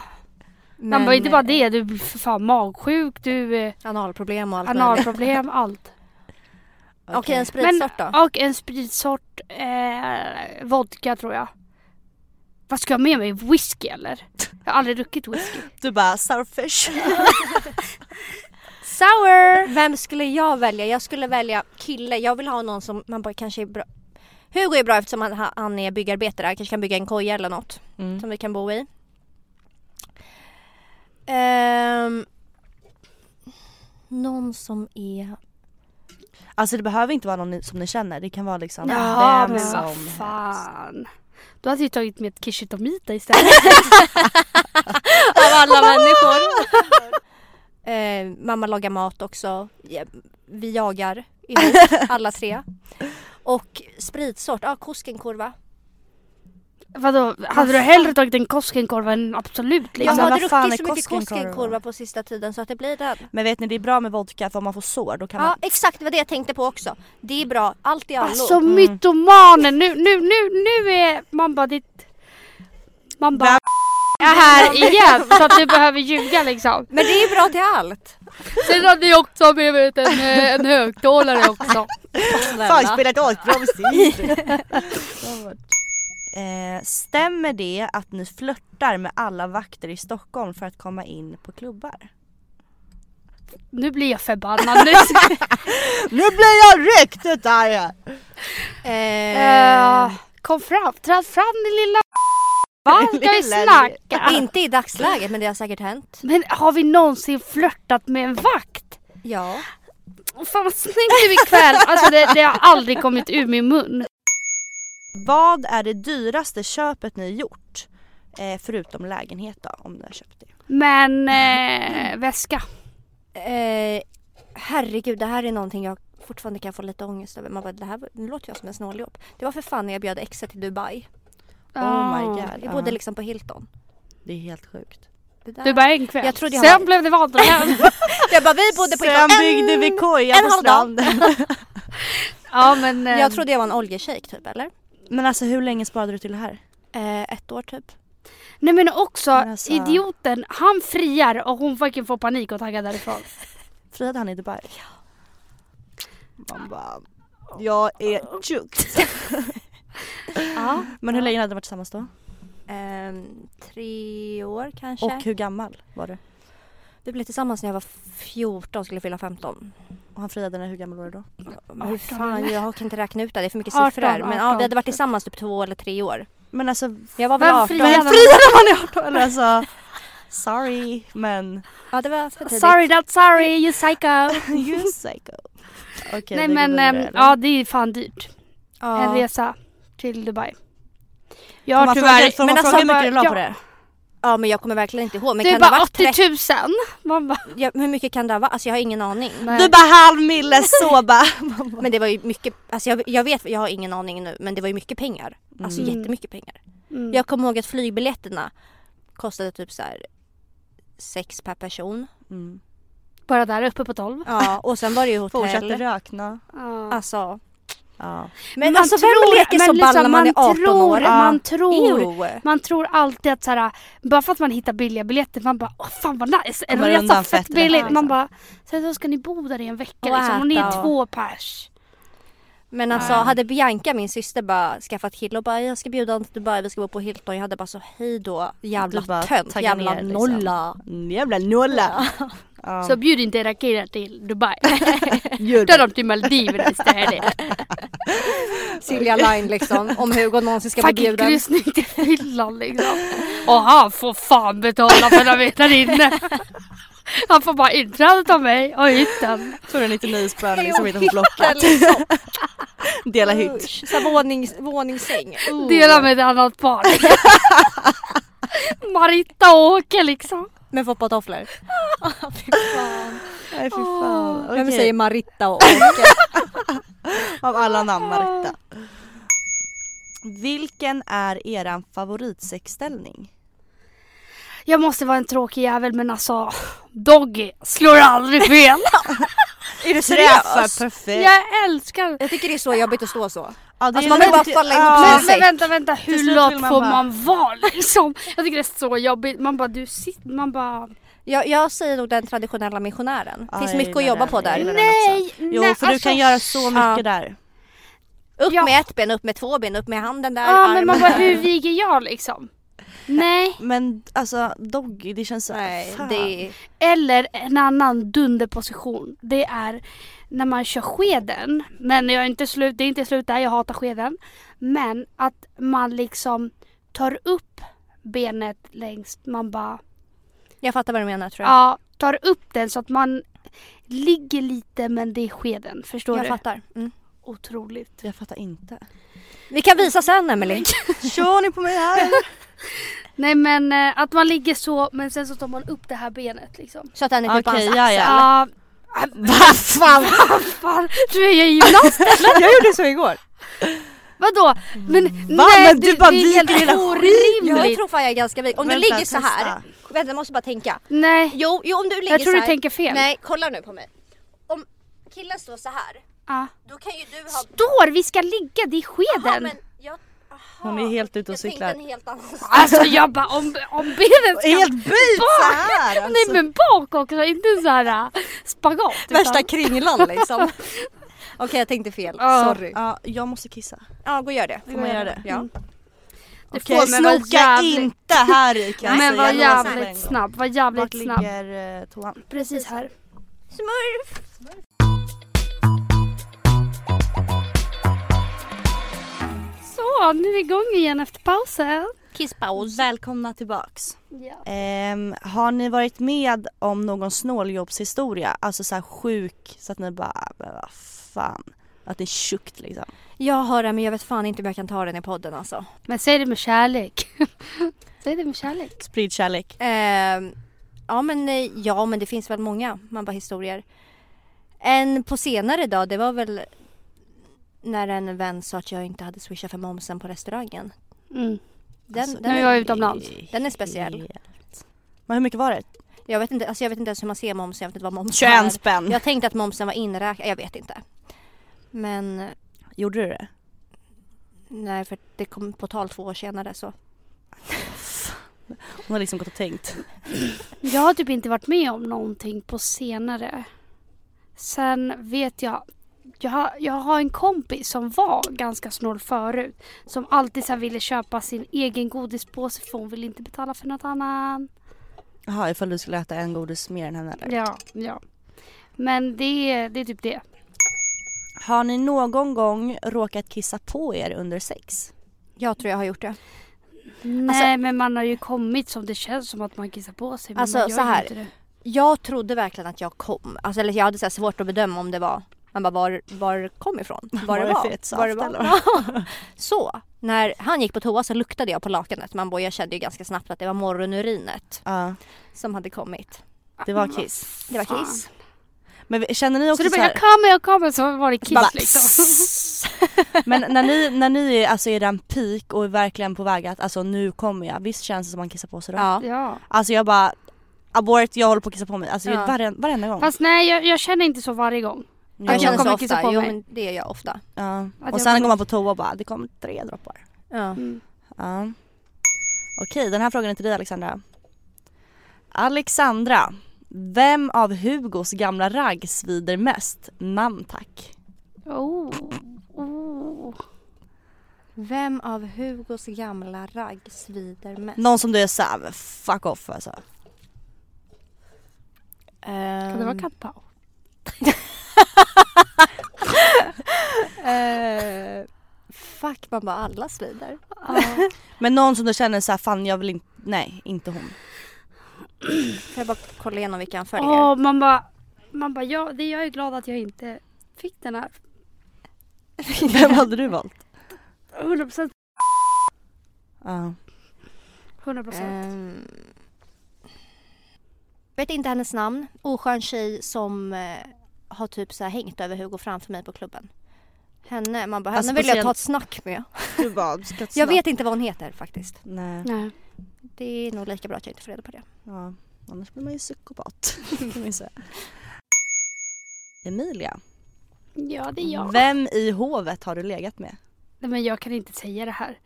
Speaker 3: Men,
Speaker 2: man bara, inte bara det. Du blir för fan magsjuk, du eh,
Speaker 3: eh, Analproblem och allt möjligt.
Speaker 2: analproblem, allt.
Speaker 3: Okej en spritsort då?
Speaker 2: Och en spritsort eh, vodka tror jag. Vad ska jag ha med mig? Whisky eller? Jag har aldrig druckit whisky.
Speaker 1: Du bara sourfish.
Speaker 3: Sour! Vem skulle jag välja? Jag skulle välja kille. Jag vill ha någon som man bara kanske är bra. Hugo är bra eftersom han, han är byggarbetare. Han kanske kan bygga en koja eller något
Speaker 1: Mm.
Speaker 3: som vi kan bo i. Ehm, någon som är...
Speaker 1: Alltså det behöver inte vara någon ni- som ni känner, det kan vara liksom
Speaker 2: Ja
Speaker 1: vem
Speaker 2: men
Speaker 1: som
Speaker 2: vad
Speaker 1: helst.
Speaker 2: fan. Då hade jag tagit med ett kishitomita istället.
Speaker 3: Av alla människor. Ehm, mamma lagar mat också. Ja, Vi jagar ihop, alla tre. Och spritsort, ja ah, Koskenkorva.
Speaker 2: Vadå, hade du hellre tagit en Koskenkorv än Absolut
Speaker 3: Jag
Speaker 2: liksom?
Speaker 1: men
Speaker 3: har
Speaker 1: vad fan är
Speaker 3: druckit så mycket
Speaker 1: Koskenkorva?
Speaker 3: Koskenkorva på sista tiden så att det blir den.
Speaker 1: Men vet ni det är bra med vodka för om man får sår då kan
Speaker 3: Ja
Speaker 1: man
Speaker 3: exakt, det var det jag tänkte på också. Det är bra, allt i allo.
Speaker 2: Alltså mytomanen, nu, nu, nu, nu är man bara ditt... Man bara är här igen så att du behöver ljuga liksom.
Speaker 3: Men det är bra till allt.
Speaker 2: Sen hade jag också blivit en, eh, en högtalare också.
Speaker 1: Fan spela ett asbra musik. eh, stämmer det att ni flörtar med alla vakter i Stockholm för att komma in på klubbar?
Speaker 2: Nu blir jag förbannad. Nu.
Speaker 1: Nu blir jag riktigt arg!
Speaker 2: Eh, kom fram, träd fram din lilla Vad ska vi
Speaker 1: Lilla- Eh,
Speaker 2: snacka?
Speaker 3: Inte i dagsläget men det har säkert hänt.
Speaker 2: Men har vi någonsin flörtat med en vakt?
Speaker 3: Ja.
Speaker 2: Åh, Fan vad snygg du är ikväll! Alltså det, det har aldrig kommit ur min mun.
Speaker 1: Vad är det dyraste köpet ni gjort? Eh, förutom lägenhet då, om ni har köpt det.
Speaker 2: Men eh, väska.
Speaker 3: Eh, herregud det här är någonting jag fortfarande kan få lite ångest över. Man bara, det här var- nu låter jag som en snåljåp. Det var för fan när jag bjöd exet till Dubai.
Speaker 1: Oh my
Speaker 2: Ah.
Speaker 1: god.
Speaker 3: Vi
Speaker 1: ja.
Speaker 3: bodde liksom på Hilton.
Speaker 1: Det är helt sjukt.
Speaker 3: Det där.
Speaker 2: Du bara en kväll.
Speaker 3: Jag trodde jag
Speaker 2: Sen
Speaker 3: var-
Speaker 2: blev det vanliga.
Speaker 3: jag bara, vi bodde på
Speaker 1: Sen
Speaker 3: Hilton.
Speaker 1: byggde vi koja
Speaker 3: en
Speaker 1: på
Speaker 3: halv dag.
Speaker 1: stranden.
Speaker 2: ja men. Eh,
Speaker 3: Jag trodde jag var en oljeshejk typ eller?
Speaker 1: Men alltså hur länge sparade du till det här?
Speaker 3: Eh, ett år typ.
Speaker 2: Nej men också
Speaker 1: Men alltså-
Speaker 2: idioten, han friar och hon fucking får panik och taggar därifrån.
Speaker 1: Friade han i Dubai? Man bara, jag är tjukt.
Speaker 2: Ja.
Speaker 1: Men hur länge hade ni varit tillsammans då?
Speaker 3: Ehm, tre år kanske.
Speaker 1: Och hur gammal var du?
Speaker 3: Vi blev tillsammans när jag var 14 skulle fylla 15.
Speaker 1: Och han friade när hur gammal var du då?
Speaker 3: Men hur
Speaker 2: 18
Speaker 3: fan,
Speaker 2: eller?
Speaker 3: jag kan inte räkna ut det. Det är för mycket
Speaker 2: 18,
Speaker 3: siffror här. Men ja,
Speaker 2: 18.
Speaker 3: vi hade varit tillsammans typ två eller tre år.
Speaker 1: Men alltså, vem
Speaker 3: Jag var väl
Speaker 2: Vem
Speaker 3: 18.
Speaker 2: friar?
Speaker 1: friade man i 18? Eller alltså, sorry men
Speaker 3: Ja, det var för tidigt.
Speaker 2: Sorry not sorry you psycho.
Speaker 1: you psycho. Okej,
Speaker 2: Nej
Speaker 1: vi går
Speaker 2: men
Speaker 1: vidare,
Speaker 2: eh,
Speaker 1: eller?
Speaker 2: ja det är fan dyrt. En
Speaker 3: Ja.
Speaker 2: resa till Dubai. Jag
Speaker 1: Får man
Speaker 2: har
Speaker 1: fråga,
Speaker 2: tyvärr.
Speaker 1: får man
Speaker 3: men
Speaker 1: fråga
Speaker 3: alltså,
Speaker 1: hur mycket du la
Speaker 2: ja.
Speaker 1: på det?
Speaker 3: ja, men jag kommer verkligen inte ihåg. Men
Speaker 2: Det är
Speaker 3: kan det
Speaker 2: typ bara
Speaker 3: ha varit
Speaker 2: 80 000.
Speaker 3: 30...
Speaker 2: Man bara,
Speaker 3: Ja, hur mycket kan det ha varit? Alltså jag har ingen aning.
Speaker 2: nej.
Speaker 1: Du bara halv mille så bara.
Speaker 3: Men det var ju mycket, alltså jag, jag vet, jag har ingen aning nu, men det var ju mycket pengar. Alltså
Speaker 2: Mm.
Speaker 3: jättemycket pengar.
Speaker 2: Mm.
Speaker 3: Jag kommer ihåg att flygbiljetterna kostade typ så här sex per person.
Speaker 1: Mm.
Speaker 2: Bara där uppe på 12.
Speaker 3: Ja, och sen var det ju
Speaker 1: Fortsatte
Speaker 3: hotell.
Speaker 1: rökna.
Speaker 2: Ja.
Speaker 3: Alltså,
Speaker 1: Ja.
Speaker 3: men
Speaker 2: Man
Speaker 3: alltså vem
Speaker 2: tror-
Speaker 3: leker
Speaker 2: men
Speaker 3: så ball
Speaker 2: liksom,
Speaker 3: när man är 18 år?
Speaker 2: tror, Man tror,
Speaker 3: Ew.
Speaker 2: man tror alltid att såhär, bara för att man hittar billiga biljetter, man bara åh fan vad nice, en
Speaker 1: Kommer
Speaker 2: resa
Speaker 1: undan
Speaker 2: fett
Speaker 1: fett
Speaker 2: billigt.
Speaker 1: lätt, liksom.
Speaker 2: Man bara, sen så ska ni bo där i en vecka
Speaker 3: Och
Speaker 2: liksom, och ni
Speaker 3: äta
Speaker 2: är
Speaker 3: och-
Speaker 2: två pers.
Speaker 3: Men alltså
Speaker 1: Nej.
Speaker 3: hade Bianca, min syster, bara skaffat kille och bara jag ska bjuda honom till Dubai, vi ska bo på Hilton. Jag hade bara så hej då
Speaker 1: Du
Speaker 3: jävla
Speaker 1: bara
Speaker 3: tönt,
Speaker 1: taggar
Speaker 3: jävla
Speaker 1: ner, liksom.
Speaker 3: nolla.
Speaker 1: Mm, Jävla nolla! Ja,
Speaker 2: Så bjud inte era killar till Dubai.
Speaker 1: gör
Speaker 2: Ta
Speaker 1: det.
Speaker 2: dem till Maldiverna istället.
Speaker 3: Silja Line liksom, om Hugo någonsin ska bli
Speaker 2: Fucking
Speaker 3: bjuden.
Speaker 2: kryssning till Finland liksom. Och han får fan betala för att veta inne. Han får bara inträdet av mig och hytten.
Speaker 1: 299 spänn liksom inte på Blocket.
Speaker 3: Liksom.
Speaker 1: Dela hytt.
Speaker 3: Usch, Så här vånings, våningssäng. Uh.
Speaker 2: Oh. Dela med ett annat par. Marita och Åke liksom.
Speaker 3: Men få på tofflor. Fy fan.
Speaker 1: Nej fy fan.
Speaker 3: Vem
Speaker 1: Okej.
Speaker 3: säger Maritta och Åke?
Speaker 1: Av alla namn Marita. Vilken är eran favoritsexställning?
Speaker 2: Jag måste vara en tråkig jävel men alltså Doggy slår aldrig fel.
Speaker 3: Är du
Speaker 1: Träffar perfekt.
Speaker 2: Jag älskar
Speaker 3: Jag tycker det är så jobbigt att stå så.
Speaker 1: Ja, det
Speaker 3: Alltså,
Speaker 1: är
Speaker 3: man vill
Speaker 1: lite-
Speaker 3: bara falla ihop
Speaker 1: Ja,
Speaker 3: med
Speaker 2: Men,
Speaker 3: sig.
Speaker 2: men vänta, vänta,
Speaker 1: Till slut
Speaker 2: hur
Speaker 1: vill
Speaker 2: lat
Speaker 1: man
Speaker 2: får
Speaker 1: bara-
Speaker 2: man vara liksom? Jag tycker det är så jobbigt. Man bara, du sitter, man bara...
Speaker 3: Jag, jag säger nog den traditionella missionären.
Speaker 1: Ja,
Speaker 3: Finns
Speaker 1: jag
Speaker 3: mycket att
Speaker 1: gillar
Speaker 3: jobba
Speaker 1: den,
Speaker 3: på
Speaker 1: jag
Speaker 3: där.
Speaker 1: gillar den också. Jo
Speaker 2: nej,
Speaker 1: för du
Speaker 2: alltså,
Speaker 1: kan göra så mycket
Speaker 3: ja.
Speaker 1: där.
Speaker 3: Upp
Speaker 2: Ja.
Speaker 3: med ett ben, upp med två ben, upp med handen där,
Speaker 2: Ja men man bara,
Speaker 3: armen där.
Speaker 2: hur viger jag liksom? Nej.
Speaker 1: Men alltså Doggy det känns så
Speaker 3: Nej,
Speaker 1: fan.
Speaker 3: det är...
Speaker 2: Eller en annan dunderposition. Det är när man kör skeden. Men jag är inte slut, det är inte slut där, jag hatar skeden. Men att man liksom tar upp benet längst, man bara...
Speaker 3: Jag fattar vad du menar tror jag.
Speaker 2: Ja, tar upp den så att man ligger lite men det är skeden. Förstår
Speaker 3: jag
Speaker 2: du?
Speaker 3: fattar. Mm.
Speaker 2: Otroligt.
Speaker 1: Jag fattar inte.
Speaker 3: Vi kan visa sen Emelie.
Speaker 1: Kör ni på mig här?
Speaker 2: Nej men eh, att man ligger så men sen så tar man upp det här benet liksom.
Speaker 3: Så att den är typ på hans
Speaker 1: Okej,
Speaker 3: axel.
Speaker 1: ja, ja.
Speaker 2: Ja,
Speaker 1: Vad fan?
Speaker 2: fan, du är ju gymnast
Speaker 3: Jag gjorde så igår.
Speaker 2: Vadå? Men
Speaker 1: Va?
Speaker 2: nej
Speaker 1: Men
Speaker 2: det-
Speaker 1: du bara
Speaker 2: det är
Speaker 1: viker hela
Speaker 2: helt
Speaker 3: Jag
Speaker 2: orimligt.
Speaker 3: tror fan jag är ganska vig. Om du
Speaker 1: Vänta,
Speaker 3: ligger så här.
Speaker 1: testa.
Speaker 3: Vänta jag måste bara tänka.
Speaker 2: Nej,
Speaker 3: Jo, jo om du ligger
Speaker 2: jag tror
Speaker 3: så
Speaker 2: du
Speaker 3: här.
Speaker 2: tänker fel.
Speaker 3: Nej kolla nu på mig. Om killen står så här.
Speaker 2: Ja.
Speaker 3: Då kan ju du ha...
Speaker 2: Står vi ska ligga, det är
Speaker 3: Jaha,
Speaker 2: skeden.
Speaker 3: men jag... Aha.
Speaker 1: Hon är helt ute och
Speaker 3: jag
Speaker 1: cyklar.
Speaker 3: tänkte en helt annan sak.
Speaker 2: Alltså jag bara om, om benet ska...
Speaker 1: Helt byt så här
Speaker 2: Nej
Speaker 1: alltså.
Speaker 2: men bak också, inte så här äh, spagat. utan-
Speaker 3: Värsta kringlan liksom. Okej jag tänkte fel,
Speaker 2: Ja.
Speaker 3: sorry.
Speaker 1: Ja, jag måste kissa.
Speaker 3: Ja gå och gör det. Mm.
Speaker 1: Får man göra det?
Speaker 3: Ja.
Speaker 2: Det
Speaker 1: Okej,
Speaker 2: får- men vad
Speaker 1: snoka
Speaker 2: jävligt-
Speaker 1: inte här i kan jag
Speaker 2: Men
Speaker 1: säga.
Speaker 2: var
Speaker 1: Jag lovar på en
Speaker 2: jävligt
Speaker 1: gång.
Speaker 2: snabb, var
Speaker 1: Vart
Speaker 2: jävligt snabb.
Speaker 1: ligger eh, toan?
Speaker 2: Precis här.
Speaker 3: Smurf!
Speaker 2: Så, nu är vi igång igen efter pausen.
Speaker 3: Kisspaus.
Speaker 1: Välkomna tillbaks.
Speaker 2: Ja.
Speaker 1: Ehm, har ni varit med om någon snåljåpshistoria? Alltså så här sjuk så att ni bara, "Ah, "Men vad fan. Att det är tjukt liksom.
Speaker 3: Jag har den men jag vet fan inte om jag kan ta den i podden alltså.
Speaker 2: Men säg det med kärlek. säg det med kärlek.
Speaker 1: Sprid kärlek.
Speaker 3: Ehm, ja men eh, ja men det finns väl många man bara historier. En på senare dag det var väl när en vän sa att jag inte hade swishat för momsen på restaurangen.
Speaker 2: Mm.
Speaker 3: Den,
Speaker 1: Alltså,
Speaker 3: den
Speaker 2: när vi var utomlands.
Speaker 3: Den är speciell.
Speaker 1: Men hur mycket var det?
Speaker 3: Jag vet inte, alltså jag vet inte ens hur man ser momsen, jag vet inte vad
Speaker 1: 21
Speaker 3: momsen är.
Speaker 1: spänn.
Speaker 3: Jag tänkte att momsen var inräknad, jag vet inte. Men eh,
Speaker 1: Gjorde du det?
Speaker 3: nej för det kom på tal två år senare så.
Speaker 1: Hon har liksom gått och tänkt.
Speaker 2: Jag har typ inte varit med om någonting på senare. Sen vet jag, jag har, jag har en kompis som var ganska snål förut. Som alltid så här ville köpa sin egen godispåse för hon ville inte betala för något annan.
Speaker 1: Jaha, ifall du skulle äta en godis mer än henne eller?
Speaker 2: Ja, ja. Men det, det är typ det.
Speaker 1: Har ni någon gång råkat kissa på er under sex?
Speaker 3: Jag tror jag har gjort det.
Speaker 2: Nej men man har ju kommit som det känns som att man kissar på sig. Men
Speaker 3: Alltså,
Speaker 2: man gör
Speaker 3: så
Speaker 2: ju
Speaker 3: här.
Speaker 2: inte det.
Speaker 3: Jag trodde verkligen att jag kom. Alltså, eller jag hade så här svårt att bedöma om det var man bara, var, var kom ifrån? Var det
Speaker 1: det
Speaker 3: var?
Speaker 1: fet saft,
Speaker 3: Var det var?
Speaker 1: eller?
Speaker 3: så, när han gick på toa så luktade jag på lakanet. Man bara, jag kände ju ganska snabbt att det var morgonurinet
Speaker 1: Ja,
Speaker 3: som hade kommit.
Speaker 1: det var kiss.
Speaker 3: Det var
Speaker 2: Fan.
Speaker 3: kiss.
Speaker 1: Men känner ni
Speaker 2: Ah. Så
Speaker 1: också
Speaker 2: du
Speaker 1: så,
Speaker 2: bara,
Speaker 1: här,
Speaker 2: jag kommer, jag kommer, så var det kiss
Speaker 3: Bara,
Speaker 2: liksom.
Speaker 1: men när ni, när ni är alltså i den peak och är verkligen på väg att alltså nu kommer jag, visst känns det som man kissar på sig då?
Speaker 3: Ja.
Speaker 2: Ja.
Speaker 1: Alltså jag bara abort, jag håller på att kissa på mig. Alltså
Speaker 3: Ja.
Speaker 1: varje, varenda gång.
Speaker 2: Fast nej, jag, jag känner inte så varje gång.
Speaker 1: Ja.
Speaker 3: Jag känner
Speaker 2: kommer
Speaker 3: så
Speaker 2: kissa
Speaker 3: ofta.
Speaker 2: på
Speaker 3: jo,
Speaker 2: mig.
Speaker 3: men det gör jag ofta.
Speaker 1: ja.
Speaker 2: jag
Speaker 1: Och sen
Speaker 2: kommer-
Speaker 1: går man på toa och bara det kom tre droppar.
Speaker 3: Ja.
Speaker 2: Mm.
Speaker 1: Ja. Okej, den här frågan är till dig Alexandra. Alexandra, vem av Hugos gamla ragg svider mest? Namn tack.
Speaker 2: Oh. oh.
Speaker 3: Vem av Hugos gamla ragg svider mest?
Speaker 1: Någon som du är såhär, fuck off alltså.
Speaker 2: Kan
Speaker 3: Ehm,
Speaker 1: Ehm.
Speaker 2: det vara kattpaus?
Speaker 3: Eh, fuck, man bara alla svider.
Speaker 2: Ja.
Speaker 1: Men någon som du känner såhär, fan jag vill inte, nej inte hon.
Speaker 3: Får jag bara kolla igenom vilka han följer?
Speaker 2: Och man bara, man bara ja, det, jag är glad att jag inte fick den här.
Speaker 1: Vem hade du valt?
Speaker 2: 100 procent.
Speaker 1: Ja.
Speaker 2: 100 procent.
Speaker 3: Ehm, vet inte hennes namn. Oskön tjej som eh, har typ så här hängt över Hugo framför mig på klubben. Henne, man bara, henne
Speaker 1: Alltså,
Speaker 3: vill jag ta
Speaker 1: speciellt-
Speaker 3: ett snack med.
Speaker 1: Du bad, ska
Speaker 3: Jag vet inte vad hon heter faktiskt.
Speaker 1: Nej.
Speaker 2: Nej.
Speaker 3: Det är nog lika bra att jag inte får reda på det.
Speaker 1: Ja. Annars blir man ju psykopat. kan man ju säga. Emilia,
Speaker 2: Ja, det är jag.
Speaker 1: vem i hovet har du legat med?
Speaker 2: Nej, men jag kan inte säga det här.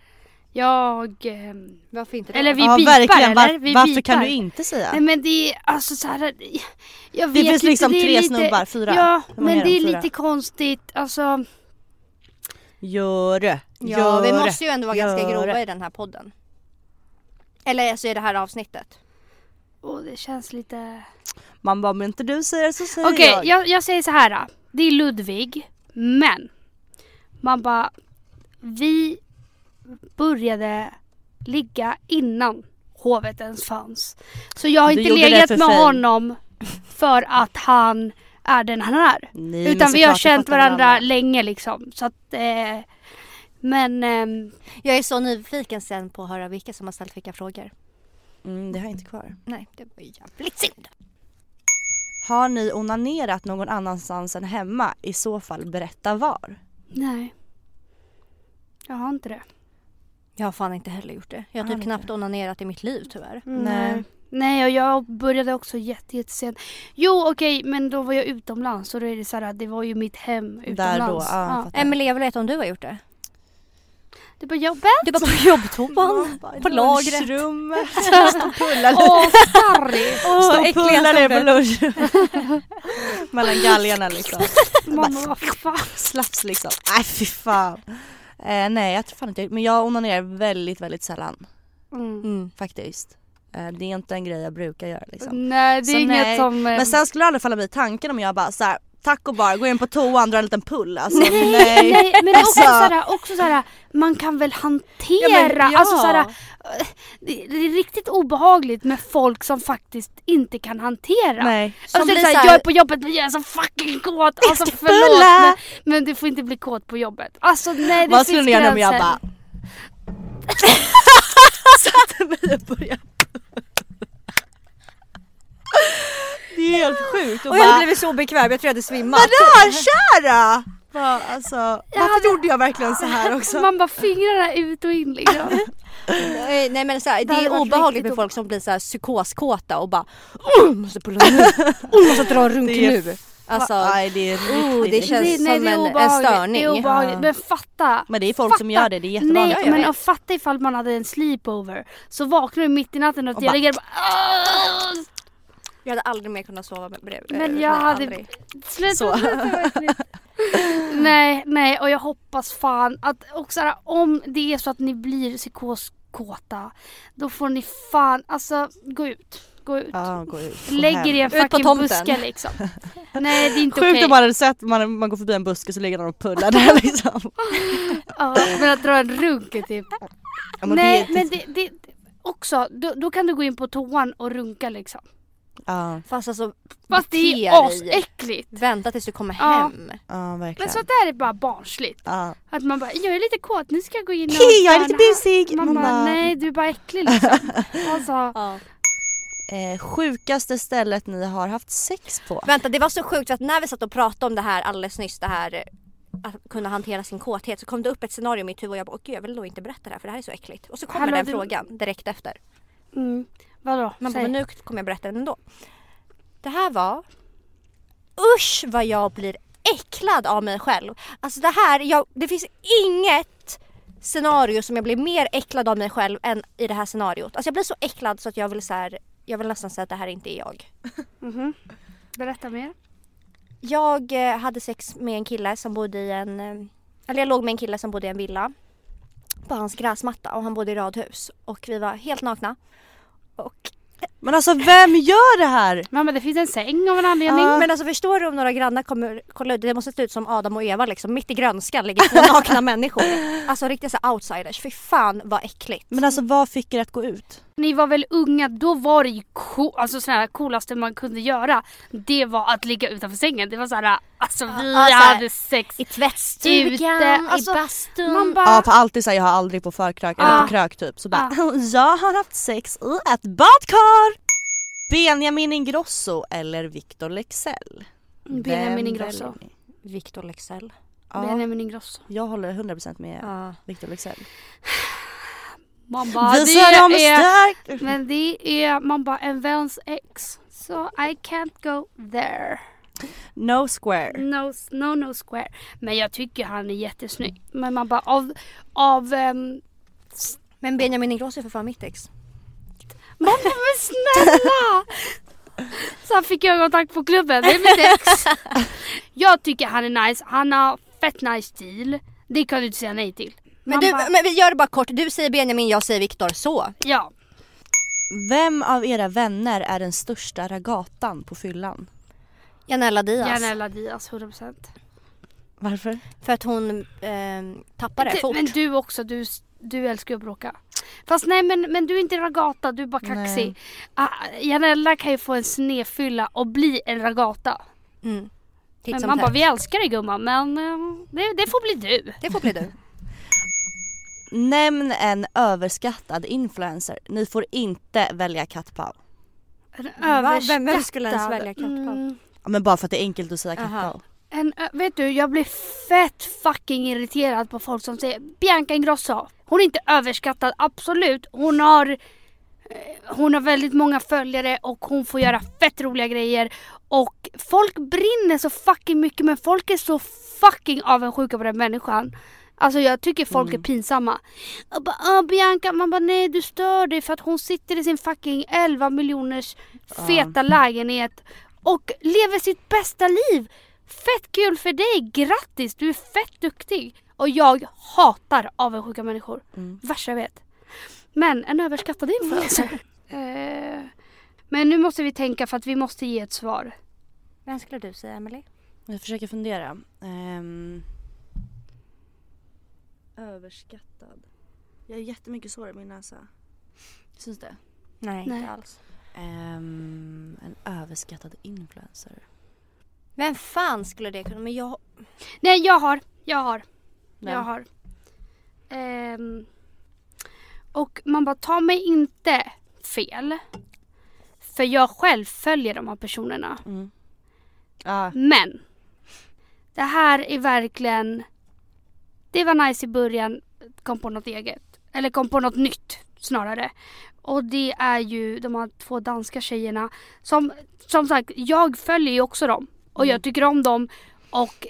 Speaker 2: Jag... ehm,
Speaker 3: Varför inte
Speaker 2: Eller vi
Speaker 1: ja,
Speaker 2: bipar
Speaker 1: verkligen.
Speaker 2: eller?
Speaker 1: Var-
Speaker 2: vi
Speaker 1: varför
Speaker 2: bipar.
Speaker 1: kan du inte säga?
Speaker 2: Nej men det är alltså så här. Jag
Speaker 1: det
Speaker 2: vet
Speaker 1: finns
Speaker 2: inte,
Speaker 1: liksom
Speaker 2: det är
Speaker 1: tre
Speaker 2: lite,
Speaker 1: snubbar, fyra.
Speaker 2: Ja,
Speaker 1: Hur många
Speaker 2: men
Speaker 1: är
Speaker 2: det
Speaker 1: de?
Speaker 2: är
Speaker 1: Fyra?
Speaker 2: lite konstigt. Alltså,
Speaker 1: Gör det.
Speaker 3: Ja, vi
Speaker 1: Gör
Speaker 3: måste ju ändå vara ganska
Speaker 1: Gör
Speaker 3: grova
Speaker 1: det.
Speaker 3: i den här podden. Eller alltså i det här avsnittet.
Speaker 2: åh, det känns lite...
Speaker 1: Man bara, men inte du säger det så säger
Speaker 2: Okej,
Speaker 1: jag.
Speaker 2: jag, jag säger så här. då. Det är Ludvig, men man bara... Vi började ligga innan hovet ens fanns. Så jag har
Speaker 1: Du
Speaker 2: inte
Speaker 1: gjorde det
Speaker 2: legat
Speaker 1: för
Speaker 2: med
Speaker 1: fame.
Speaker 2: honom för att han är den han är.
Speaker 1: Nej, men
Speaker 2: Utan vi
Speaker 1: Mm, såklart,
Speaker 2: har
Speaker 1: jag
Speaker 2: känt
Speaker 1: fattar
Speaker 2: varandra länge liksom. Så att, eh, men ehm,
Speaker 3: Jag är så nyfiken sen på att höra vilka som har ställt vilka frågor.
Speaker 1: Mm, det har jag inte kvar.
Speaker 3: Nej, det var ju jävligt synd.
Speaker 1: Har ni onanerat någon annanstans än hemma? I så fall berätta var.
Speaker 2: nej. Jag har inte det.
Speaker 3: Jag har fan inte heller gjort det. Jag
Speaker 1: Har
Speaker 3: har typ
Speaker 1: ni
Speaker 3: knappt onanerat i mitt liv tyvärr.
Speaker 2: Mm.
Speaker 1: Nej.
Speaker 2: Nej och jag började också jätte, jättesent. Jo okej men då var jag utomlands och då är det så här, att det var ju mitt hem
Speaker 1: Där
Speaker 2: utomlands.
Speaker 1: då, ja, jag fattar.
Speaker 3: Emelie, jag vill veta om du har gjort det?
Speaker 2: Du bara jobbet?
Speaker 3: Du bara på jobbtoan, på lagret.
Speaker 1: Lunchrummet.
Speaker 2: Åh sorry!
Speaker 1: Stå och
Speaker 3: äckliga
Speaker 1: pulla dig på
Speaker 3: stoppar.
Speaker 1: lunchrummet. Mellan galgarna liksom.
Speaker 2: Mamma vad fan.
Speaker 1: Slaps liksom. Nej fy fan. Eh, nej jag tror fan inte jag- Men jag onanerar väldigt väldigt sällan
Speaker 2: Mm. Mm,
Speaker 3: Mm.
Speaker 1: faktiskt. Eh, det är inte en grej jag brukar göra liksom.
Speaker 2: Nej det är
Speaker 1: Så
Speaker 2: inget
Speaker 1: nej.
Speaker 2: som... eh,
Speaker 1: Men sen skulle det aldrig falla mig i tanken om jag bara så här, tack och bara går in på toan och drar en liten pull. Alltså nej.
Speaker 2: Nej men
Speaker 1: Alltså.
Speaker 2: också såhär, också såhär, man kan väl hantera, alltså såhär, det, det är riktigt obehagligt med folk som faktiskt inte kan hantera.
Speaker 1: nej.
Speaker 2: Som
Speaker 3: blir
Speaker 2: alltså, blir såhär,
Speaker 3: så här-
Speaker 2: jag är på jobbet men jag är så fucking kåt. Alltså förlåt
Speaker 1: Fulla!
Speaker 2: men, men du får inte bli kåt på jobbet. Alltså nej det
Speaker 1: Vad skulle
Speaker 2: finns
Speaker 1: ni göra om jag
Speaker 2: gränser.
Speaker 1: bara satte mig och började Det är helt sjukt och
Speaker 3: Och jag hade
Speaker 1: bara
Speaker 3: blivit så obekväm, jag tror jag hade svimmat.
Speaker 1: Vadå kära? Bara, alltså, varför gjorde jag verkligen så här också?
Speaker 2: Man bara fingrarna ut och in liksom.
Speaker 3: Nej Eh, nej, men så här, det,
Speaker 2: hade
Speaker 3: är
Speaker 2: varit
Speaker 3: obehagligt
Speaker 2: riktigt
Speaker 3: med folk som blir så här psykoskåta och bara oh, måste pulla nu, oh, måste dra en runk
Speaker 1: Det är-
Speaker 3: nu. Alltså,
Speaker 1: Nej det är riktigt,
Speaker 3: oh, det
Speaker 1: riktigt.
Speaker 3: känns
Speaker 2: Det- nej,
Speaker 3: som
Speaker 2: det är
Speaker 3: en, en
Speaker 2: obehagligt.
Speaker 3: störning.
Speaker 2: Det är obehagligt.
Speaker 1: Ja.
Speaker 2: Men fatta.
Speaker 1: Men det är folk som gör det, det är
Speaker 2: Nej
Speaker 1: jättevanligt.
Speaker 3: jag
Speaker 2: men
Speaker 3: vet.
Speaker 2: och fatta ifall man hade en sleepover. Så vaknar du mitt i natten och,
Speaker 1: Och
Speaker 2: jag
Speaker 1: bara-
Speaker 2: ligger bara "Åh!"
Speaker 3: Jag hade aldrig mer kunnat sova med bredvid.
Speaker 2: Men jag hade-
Speaker 3: aldrig.
Speaker 2: Sluta,
Speaker 1: Så.
Speaker 2: sluta vad äckligt. Nej, nej och jag hoppas fan att och så här, om det är så att ni blir psykoskåta då får ni fan, alltså gå ut. Gå ut.
Speaker 1: Ja, gå ut. gå
Speaker 2: Lägg
Speaker 1: hem.
Speaker 2: er i en
Speaker 3: Ut på
Speaker 2: fucking
Speaker 3: tomten.
Speaker 2: buske liksom. Nej det är inte
Speaker 1: Sjukt
Speaker 2: okej.
Speaker 1: om man hade sett, man, man går förbi en buske så ligger någon och pullar där liksom.
Speaker 2: Ja, men att dra en runk är typ.
Speaker 1: Ja,
Speaker 2: nej
Speaker 1: det är-
Speaker 2: men det, det också, då, då kan du gå in på toan och runka liksom.
Speaker 1: Ja,
Speaker 3: Fast alltså,
Speaker 2: Fast
Speaker 3: bete
Speaker 2: det är
Speaker 3: dig.
Speaker 2: asäckligt.
Speaker 3: Vänta tills du kommer
Speaker 2: Ja.
Speaker 3: hem.
Speaker 1: ja verkligen.
Speaker 2: Men sånt där är bara barnsligt.
Speaker 1: Ja.
Speaker 2: Att man bara, jag är lite kåt, nu ska jag gå in och...
Speaker 1: Hej, jag är lite
Speaker 2: göra det här."
Speaker 1: busig!
Speaker 2: Man, bara, nej du är bara äcklig liksom. alltså,
Speaker 3: Ja.
Speaker 1: Eh, sjukaste stället ni har haft sex på?
Speaker 3: Vänta det var så sjukt för att när vi satt och pratade om det här alldeles nyss det här eh, att kunna hantera sin kåthet så kom det upp ett scenario i mitt huvud och jag bara åh gud jag vill nog inte berätta det här för det här är så äckligt. Och så kommer
Speaker 2: Hallå,
Speaker 3: den
Speaker 2: du-
Speaker 3: frågan direkt efter.
Speaker 2: mm, vadå?
Speaker 3: Man bara,
Speaker 2: Säg.
Speaker 3: men nu kommer jag berätta den ändå. Det här var Usch vad jag blir äcklad av mig själv. Alltså det här, jag, det finns inget scenario som jag blir mer äcklad av mig själv än i det här scenariot. Alltså jag blir så äcklad så att jag vill så här, jag vill nästan säga att det här inte är jag.
Speaker 2: Mhm. Berätta mer.
Speaker 3: Jag eh, hade sex med en kille som bodde i en... eh, Eller jag låg med en kille som bodde i en villa. på hans gräsmatta och han bodde i radhus och vi var helt nakna. Och,
Speaker 1: Men alltså vem gör det här?
Speaker 2: Mamma det finns en säng av en anledning.
Speaker 1: Ja.
Speaker 3: Men alltså förstår du om några grannar kommer kolla ut, det måste se ut som Adam och Eva liksom mitt i grönskan ligger två nakna människor. Alltså riktiga så här outsiders, fy fan vad äckligt.
Speaker 1: Men alltså vad fick er att gå ut?
Speaker 2: Ni var väl unga, då var det ju co- alltså sådana här coolaste man kunde göra. Det var att ligga utanför sängen. Det var såhär, alltså vi
Speaker 3: Ja, så här-
Speaker 2: hade sex.
Speaker 3: I tvättstugan,
Speaker 2: Ute, alltså,
Speaker 3: i bastun.
Speaker 2: Man bara,
Speaker 1: Ja på alltid såhär jag har aldrig på förkrök eller
Speaker 2: Ja.
Speaker 1: på krök typ så bara jag har haft sex i ett badkar! Benjamin Ingrosso eller Victor Lexell? Vem
Speaker 2: Benjamin
Speaker 1: väljer
Speaker 2: Ingrosso.
Speaker 1: ni?
Speaker 3: Victor Lexell.
Speaker 1: Ja,
Speaker 2: Benjamin Ingrosso.
Speaker 1: jag håller 100% med
Speaker 3: Ja.
Speaker 1: Victor Lexell.
Speaker 2: Man bara,
Speaker 1: Visa dem
Speaker 2: det är,
Speaker 1: stark!
Speaker 2: men det är, man bara en väns ex. So I can't go there.
Speaker 1: No square.
Speaker 2: No, no, no square. Men jag tycker han är jättesnygg. Men man bara av, av ehm,
Speaker 3: Men Benjamin Ingrosso är för fan mitt ex.
Speaker 2: Mamma men snälla! Så han fick ögonkontakt på klubben, det är mitt ex. Jag tycker han är nice, han har fett nice stil. Det kan du inte säga nej till.
Speaker 3: Men,
Speaker 2: Man
Speaker 3: du,
Speaker 2: bara,
Speaker 3: men vi gör det bara kort, du säger Benjamin, jag säger Viktor. Så.
Speaker 2: Ja,
Speaker 1: Vem av era vänner är den största ragatan på fyllan?
Speaker 3: Janella Diaz.
Speaker 2: Janella Diaz 100%.
Speaker 1: Varför?
Speaker 3: För att hon ehm, tappar det
Speaker 2: Du-
Speaker 3: fort.
Speaker 2: Men du också, du, du älskar ju att bråka. Fast nej men, men du är inte ragata, du är bara
Speaker 1: Nej.
Speaker 2: kaxig. Ah, Janella kan ju få en snefylla och bli en ragata.
Speaker 3: Mm. Titt
Speaker 2: Men
Speaker 3: som
Speaker 2: man
Speaker 3: tätt.
Speaker 2: bara, vi älskar dig gumman men eh, det, det får bli du.
Speaker 3: Det får bli du.
Speaker 1: Nämn en överskattad influencer. Ni får inte välja kattpav.
Speaker 3: Va? Vem- vem skulle ens
Speaker 2: överskattad- Mm.
Speaker 3: välja kattpav?
Speaker 1: Ja, Men bara för att det är enkelt att säga
Speaker 3: Aha.
Speaker 1: kattpav.
Speaker 2: En, ö- vet du, jag blir fett fucking irriterad på folk som säger Bianca Ingrosso. Hon är inte överskattad, absolut. Hon har, eh, hon har väldigt många följare och hon får göra fett roliga grejer. Och folk brinner så fucking mycket men folk är så fucking avundsjuka på den människan. Alltså jag tycker folk är pinsamma. Jag bara, "Ah, Bianca, man bara nej du stör dig för att hon sitter i sin fucking 11 miljoners feta lägenhet och lever sitt bästa liv. Fett kul för dig, grattis du är fett duktig. Och jag hatar avundsjuka människor.
Speaker 1: Mm.
Speaker 2: Värsta jag vet. Men en överskattad influencer. eh, men nu måste vi tänka för att vi måste ge ett svar.
Speaker 3: Vem skulle du säga Emily?
Speaker 1: Jag försöker fundera. Ehm. Överskattad. Jag har jättemycket sår i min näsa. Syns det?
Speaker 3: Nej,
Speaker 2: Nej.
Speaker 3: inte alls.
Speaker 1: Ehm, en överskattad influencer.
Speaker 3: Vem fan skulle det kunna... Men jag...
Speaker 2: Nej jag har, jag har.
Speaker 1: Vem?
Speaker 2: Jag har. Ehm, och man bara, ta mig inte fel. För jag själv följer de här personerna.
Speaker 1: Mm. Ja.
Speaker 2: Men. Det här är verkligen. Det var nice i början. Kom på något eget. Eller kom på något nytt snarare. Och det är ju de här två danska tjejerna. Som, som sagt, jag följer ju också dem. Och jag tycker om dem. Och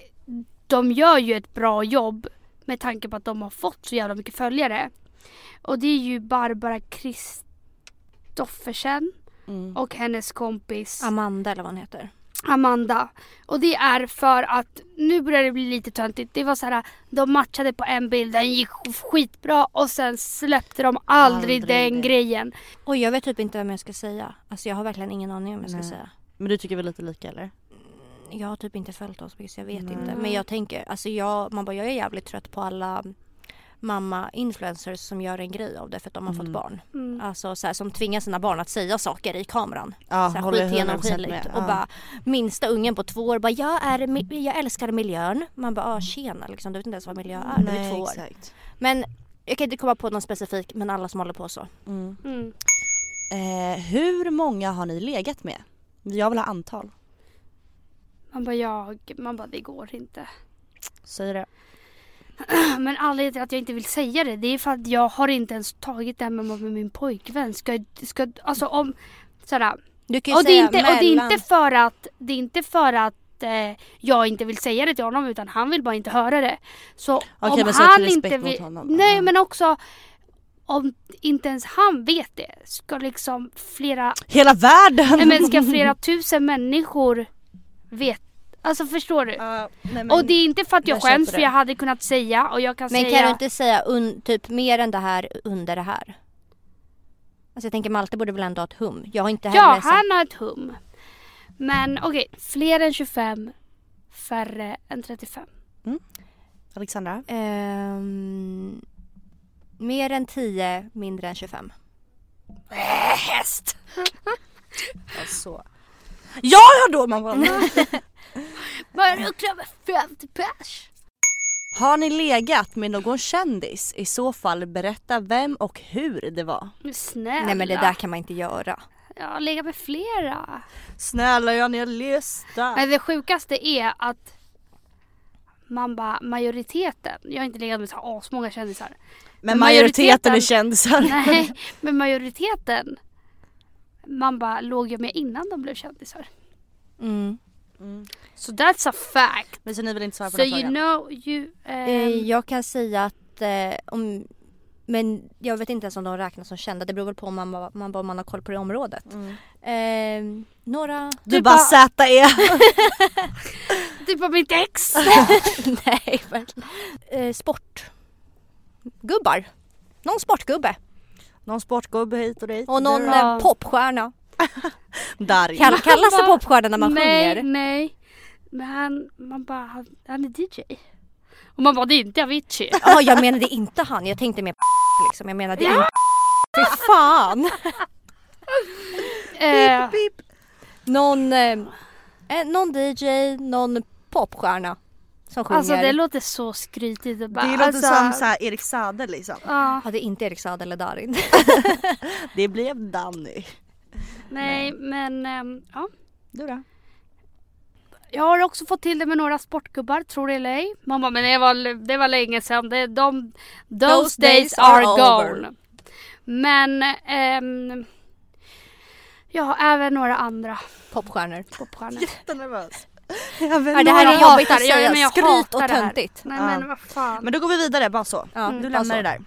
Speaker 2: de gör ju ett bra jobb. Med tanke på att de har fått så jävla mycket följare. Och det är ju Barbara Kristoffersen
Speaker 1: Mm.
Speaker 2: och hennes kompis
Speaker 3: Amanda eller vad hon heter.
Speaker 2: Amanda. Och det är för att, nu börjar det bli lite töntigt. Det var så här, de matchade på en bild, den gick skitbra och sen släppte de aldrig,
Speaker 1: Aldrig
Speaker 2: den
Speaker 1: det.
Speaker 2: grejen.
Speaker 3: Oj, jag vet typ inte vem jag ska säga. Alltså jag har verkligen ingen aning om jag ska
Speaker 1: Nej.
Speaker 3: säga.
Speaker 1: Men du tycker väl lite lika eller?
Speaker 3: Jag har typ inte följt dem så mycket så jag vet
Speaker 1: Nej.
Speaker 3: inte. Men jag tänker, alltså jag, man bara, jag är jävligt trött på alla mamma-influencers som gör en grej av det för att de har fått
Speaker 1: Mm.
Speaker 3: barn.
Speaker 2: Mm.
Speaker 3: Alltså så här, som tvingar sina barn att säga saker i kameran.
Speaker 1: Ja,
Speaker 3: så här,
Speaker 1: håller jag
Speaker 3: skit
Speaker 1: 100%
Speaker 3: genomskinligt.
Speaker 1: med.
Speaker 3: Och
Speaker 1: Ja.
Speaker 3: bara minsta ungen på två år bara jag, är, mi- jag älskar miljön. Man bara ah, tjena liksom, du vet inte ens vad miljö är. du är
Speaker 1: Nej,
Speaker 3: två år.
Speaker 1: exakt.
Speaker 3: Men jag kan inte komma på någon specifik men alla som håller på så.
Speaker 1: Mm.
Speaker 2: Mm.
Speaker 1: Eh, hur många har ni legat med? Jag vill ha antal.
Speaker 2: Man bara, jag, man bara det går inte.
Speaker 1: Säg det.
Speaker 2: Men anledningen till att jag inte vill säga det, det är för att jag har inte ens tagit det här med med min pojkvän. Ska, ska, alltså om, sådär.
Speaker 3: Du kan ju
Speaker 2: Och det, är
Speaker 3: säga
Speaker 2: inte, och det är
Speaker 3: mellan-
Speaker 2: inte för att, det är inte för att eh, jag inte vill säga det till honom utan han vill bara inte höra det. Så om
Speaker 1: men så
Speaker 2: han
Speaker 1: till respekt
Speaker 2: inte
Speaker 1: mot
Speaker 2: vill,
Speaker 1: honom.
Speaker 2: Nej
Speaker 1: Ja.
Speaker 2: men också om inte ens han vet det ska liksom flera,
Speaker 1: Hela världen!
Speaker 2: nej men ska flera tusen människor vet, Alltså förstår du?
Speaker 1: Ja, nej, men,
Speaker 2: och det är inte för att jag,
Speaker 1: jag köper
Speaker 2: skäms för
Speaker 1: det.
Speaker 2: jag hade kunnat säga och jag kan
Speaker 3: Men
Speaker 2: säga
Speaker 3: kan du inte säga un, typ mer än det här under det här? Alltså jag tänker Malte borde väl ändå ha ett hum. Jag har inte
Speaker 2: Ja,
Speaker 3: heller sagt...
Speaker 2: han har ett hum. Men okej, fler än 25, färre än 35.
Speaker 1: Alexandra?
Speaker 3: Ehm, mer än 10, mindre än 25.
Speaker 1: Häst! alltså. Ja, ja då man bara...
Speaker 2: Bara ruckla med 50 pers.
Speaker 1: Har ni legat med någon kändis? I så fall berätta vem och hur det var.
Speaker 2: Men Snälla.
Speaker 3: Nej men det där kan man inte göra.
Speaker 2: Jag har legat med flera.
Speaker 1: Snälla jag ni har lyssnat.
Speaker 2: Men det sjukaste är att man bara, majoriteten, jag har inte legat med så här asmånga kändisar.
Speaker 1: Men
Speaker 2: majoriteten
Speaker 1: majoriteten
Speaker 2: är
Speaker 1: är kändisar.
Speaker 2: Nej, men majoriteten, man bara låg ju med innan de blev kändisar.
Speaker 3: Mm.
Speaker 2: So that's a fact.
Speaker 1: Men så ni vill inte svara på
Speaker 2: So
Speaker 1: den
Speaker 2: you
Speaker 1: frågan?
Speaker 2: know you...
Speaker 3: Eh,
Speaker 2: ehm,
Speaker 3: jag kan säga att eh, om... Men jag vet inte ens om de räknas som kända. Det beror väl på om man, man, om man har koll på det området.
Speaker 2: Mm.
Speaker 3: Ehm, några...
Speaker 1: Du
Speaker 2: Du
Speaker 1: bara E.
Speaker 2: bara-
Speaker 1: ZE.
Speaker 2: typ av mitt ex.
Speaker 3: Nej, verkligen. Eh, sport. Gubbar. Någon sportgubbe.
Speaker 1: Någon sportgubbe hit och dit.
Speaker 3: Och någon
Speaker 1: Du-
Speaker 2: Ja.
Speaker 3: eh, popstjärna.
Speaker 1: Darin.
Speaker 3: Kall, kallas det popstjärna när man
Speaker 2: nej,
Speaker 3: sjunger?
Speaker 2: nej. Men han, man bara, han, han är DJ. Och man bara, det är inte Avicii.
Speaker 3: Ja, jag menade inte han. Jag tänkte mer liksom. Jag menade
Speaker 2: Ja.
Speaker 3: inte... Fy fan!
Speaker 2: eh,
Speaker 1: Pip.
Speaker 3: Någon, eh, eh, någon DJ, någon popstjärna som sjunger.
Speaker 2: alltså det låter så skrytigt. och Bara,
Speaker 1: Det låter
Speaker 2: alltså,
Speaker 1: som så här Erik Saade liksom.
Speaker 2: Ja,
Speaker 3: Ja, det är inte Erik Saade eller Darin.
Speaker 1: Det blev Danny.
Speaker 2: nej, men ehm, ja.
Speaker 1: Du då?
Speaker 2: Jag har också fått till det med några sportgubbar, tror det eller ej. Man bara, men det var, det var länge sedan. Det, de, those,
Speaker 3: Those
Speaker 2: days,
Speaker 3: days
Speaker 2: are
Speaker 3: are
Speaker 2: gone.
Speaker 3: over.
Speaker 2: Men, ehm, ja, även några andra
Speaker 3: Popstjärnor.
Speaker 2: popstjärnor.
Speaker 1: Jättenervös. Ja, men,
Speaker 3: Ja, det här
Speaker 2: jag
Speaker 3: är jobbigt
Speaker 2: hatar
Speaker 3: att
Speaker 2: det. Ja,
Speaker 3: säga.
Speaker 2: men jag
Speaker 3: Skryt
Speaker 2: hatar
Speaker 3: och
Speaker 2: det här.
Speaker 3: töntigt.
Speaker 2: Nej
Speaker 1: Ja.
Speaker 2: men vad fan.
Speaker 1: men då går vi vidare bara så.
Speaker 3: Ja,
Speaker 1: Du
Speaker 3: Mm, bara
Speaker 1: lämnar
Speaker 3: så.
Speaker 1: det där.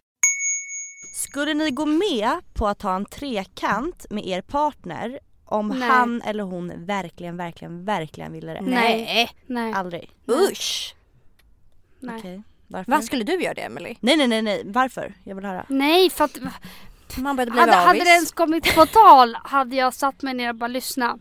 Speaker 1: Skulle ni gå med på att ha en trekant med er partner om
Speaker 2: Nej.
Speaker 1: han eller hon verkligen, verkligen, verkligen ville det?
Speaker 3: Nej,
Speaker 2: Nej, Mm.
Speaker 1: Aldrig?
Speaker 3: usch!
Speaker 2: nej.
Speaker 1: Okej. Varför?
Speaker 3: Vad skulle du göra det Emily?
Speaker 1: Nej, nej, nej, nej. Varför? Jag vill höra.
Speaker 2: Nej för att
Speaker 3: Man började bli
Speaker 2: hade, hade
Speaker 3: avis.
Speaker 2: det ens kommit på tal hade jag satt mig ner och bara lyssna.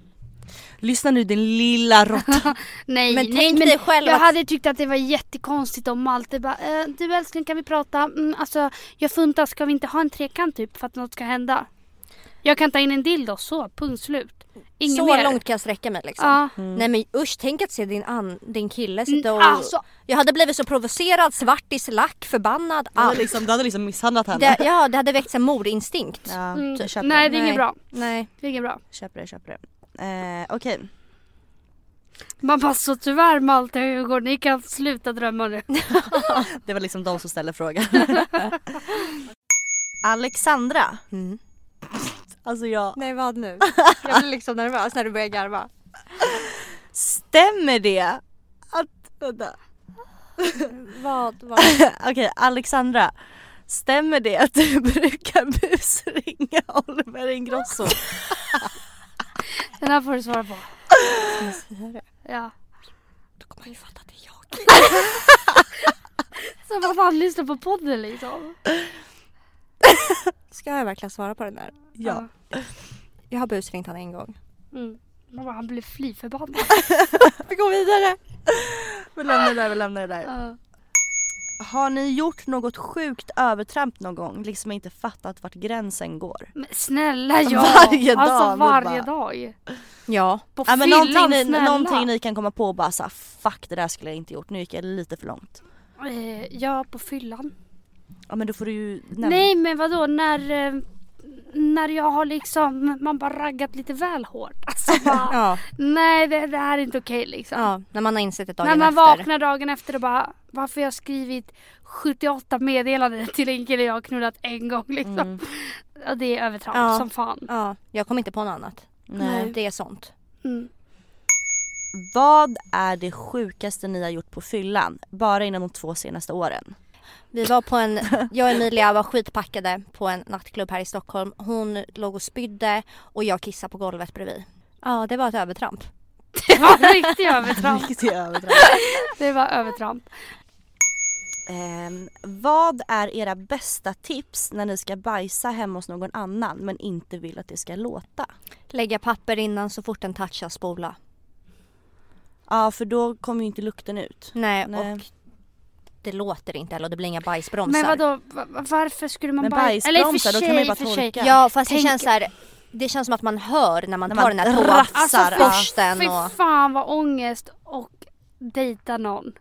Speaker 1: Lyssna nu din lilla råtta.
Speaker 2: Nej,
Speaker 3: Men
Speaker 2: nej,
Speaker 3: tänk
Speaker 2: men
Speaker 3: dig själv
Speaker 2: jag
Speaker 3: att-
Speaker 2: hade tyckt att det var jättekonstigt om Malte bara eh, Du älskling kan vi prata? Mm, alltså jag funtar, ska vi inte ha en trekant typ för att något ska hända? Jag kan ta in en dildo så, punkt slut. Inget
Speaker 3: så
Speaker 2: mer.
Speaker 3: långt kan jag sträcka mig liksom.
Speaker 2: Ja. Mm,
Speaker 3: Nej men usch, tänk att se din, an, din kille sitta och...
Speaker 2: Alltså,
Speaker 3: Jag hade blivit så provocerad, svartis, lack, förbannad,
Speaker 1: Du hade
Speaker 3: allt.
Speaker 1: liksom, du hade liksom misshandlat henne.
Speaker 3: Det, ja, det hade väckt en mordinstinkt.
Speaker 1: Ja,
Speaker 2: mm,
Speaker 1: jag köper
Speaker 2: nej
Speaker 1: det.
Speaker 2: det är inget
Speaker 3: Nej.
Speaker 2: bra.
Speaker 3: Nej.
Speaker 2: Det är inget bra.
Speaker 1: Köper det, köper det. Eh, Okej.
Speaker 2: Man bara så tyvärr Malte och Hugo, ni kan sluta drömma nu.
Speaker 1: Det var liksom de som ställde frågan. Alexandra.
Speaker 3: Mm.
Speaker 1: Alltså jag.
Speaker 3: Nej vad nu? Jag blir liksom nervös när du börjar garva.
Speaker 1: Stämmer det att... Vänta.
Speaker 3: Vad, vad?
Speaker 1: Okej, Alexandra. Stämmer det att du brukar busringa Oliver Ingrosso?
Speaker 2: Den här får du svara på. Ja.
Speaker 3: Då kommer han ju fatta att det är jag.
Speaker 2: Så vad fan lyssnar på podden liksom?
Speaker 3: Ska jag verkligen svara på den där?
Speaker 1: Ja.
Speaker 3: Jag har busringt han en gång.
Speaker 2: Mm. Man bara, han blev fly förbannad.
Speaker 1: Vi går vidare. Vi lämnar det där, vi lämnar det där.
Speaker 2: Ja.
Speaker 1: Har ni gjort något sjukt övertramp någon gång? Liksom inte fattat vart gränsen går?
Speaker 2: Men snälla ja!
Speaker 1: Varje dag,
Speaker 2: Alltså
Speaker 1: man
Speaker 2: varje
Speaker 1: bara-
Speaker 2: dag.
Speaker 3: Ja.
Speaker 2: På
Speaker 1: Ja, men
Speaker 2: fyllan
Speaker 1: någonting, ni,
Speaker 2: snälla.
Speaker 1: någonting ni kan komma på och bara såhär fuck det där skulle jag inte gjort, nu gick jag lite för långt.
Speaker 2: Eh, ja på fyllan.
Speaker 1: Ja men då får du ju nämna.
Speaker 2: Nej men vadå när, eh, när jag har liksom, man bara raggat lite väl hårt. Alltså bara,
Speaker 3: Ja.
Speaker 2: nej det, det här är inte okej liksom.
Speaker 3: ja. När man har insett det
Speaker 2: När
Speaker 3: dagen
Speaker 2: man
Speaker 3: efter.
Speaker 2: vaknar dagen efter och bara varför har jag skrivit 78 meddelanden till en kille jag har knullat en gång
Speaker 1: Mm.
Speaker 2: liksom. Ja, det är övertramp
Speaker 3: Ja.
Speaker 2: som fan.
Speaker 3: Ja. Jag kom inte på något annat.
Speaker 1: Nej.
Speaker 3: Det är sånt.
Speaker 2: Mm.
Speaker 1: Vad är det sjukaste ni har gjort på fyllan? Bara inom de två senaste åren.
Speaker 3: Vi var på en, jag och Emilia var skitpackade på en nattklubb här i Stockholm. Hon låg och spydde och jag kissade på golvet bredvid. Ja, det var ett övertramp.
Speaker 2: Det var riktigt övertramp.
Speaker 1: Riktigt övertramp.
Speaker 2: Det var övertramp.
Speaker 1: Ehm, vad är era bästa tips när ni ska bajsa hemma hos någon annan men inte vill att det ska låta?
Speaker 3: Lägga papper innan så fort den touchar spola.
Speaker 1: Ja för då kommer ju inte lukten ut.
Speaker 3: Nej,
Speaker 1: Nej.
Speaker 3: och det låter inte heller och det blir inga bajsbromsar.
Speaker 2: Men vadå, va- va- varför skulle man
Speaker 1: Men
Speaker 2: baj- Eller i och för
Speaker 1: bajsbromsar, då kan man ju
Speaker 2: sig,
Speaker 1: bara
Speaker 2: för sig.
Speaker 1: torka.
Speaker 3: Ja fast
Speaker 2: Tänk-
Speaker 3: det känns så här, det känns som att man hör när man
Speaker 1: När
Speaker 3: tar
Speaker 1: man
Speaker 3: den här
Speaker 1: rafsar,
Speaker 3: toaförsten
Speaker 1: ja.
Speaker 3: alltså, och...
Speaker 2: Fy fan vad ångest och dejta någon.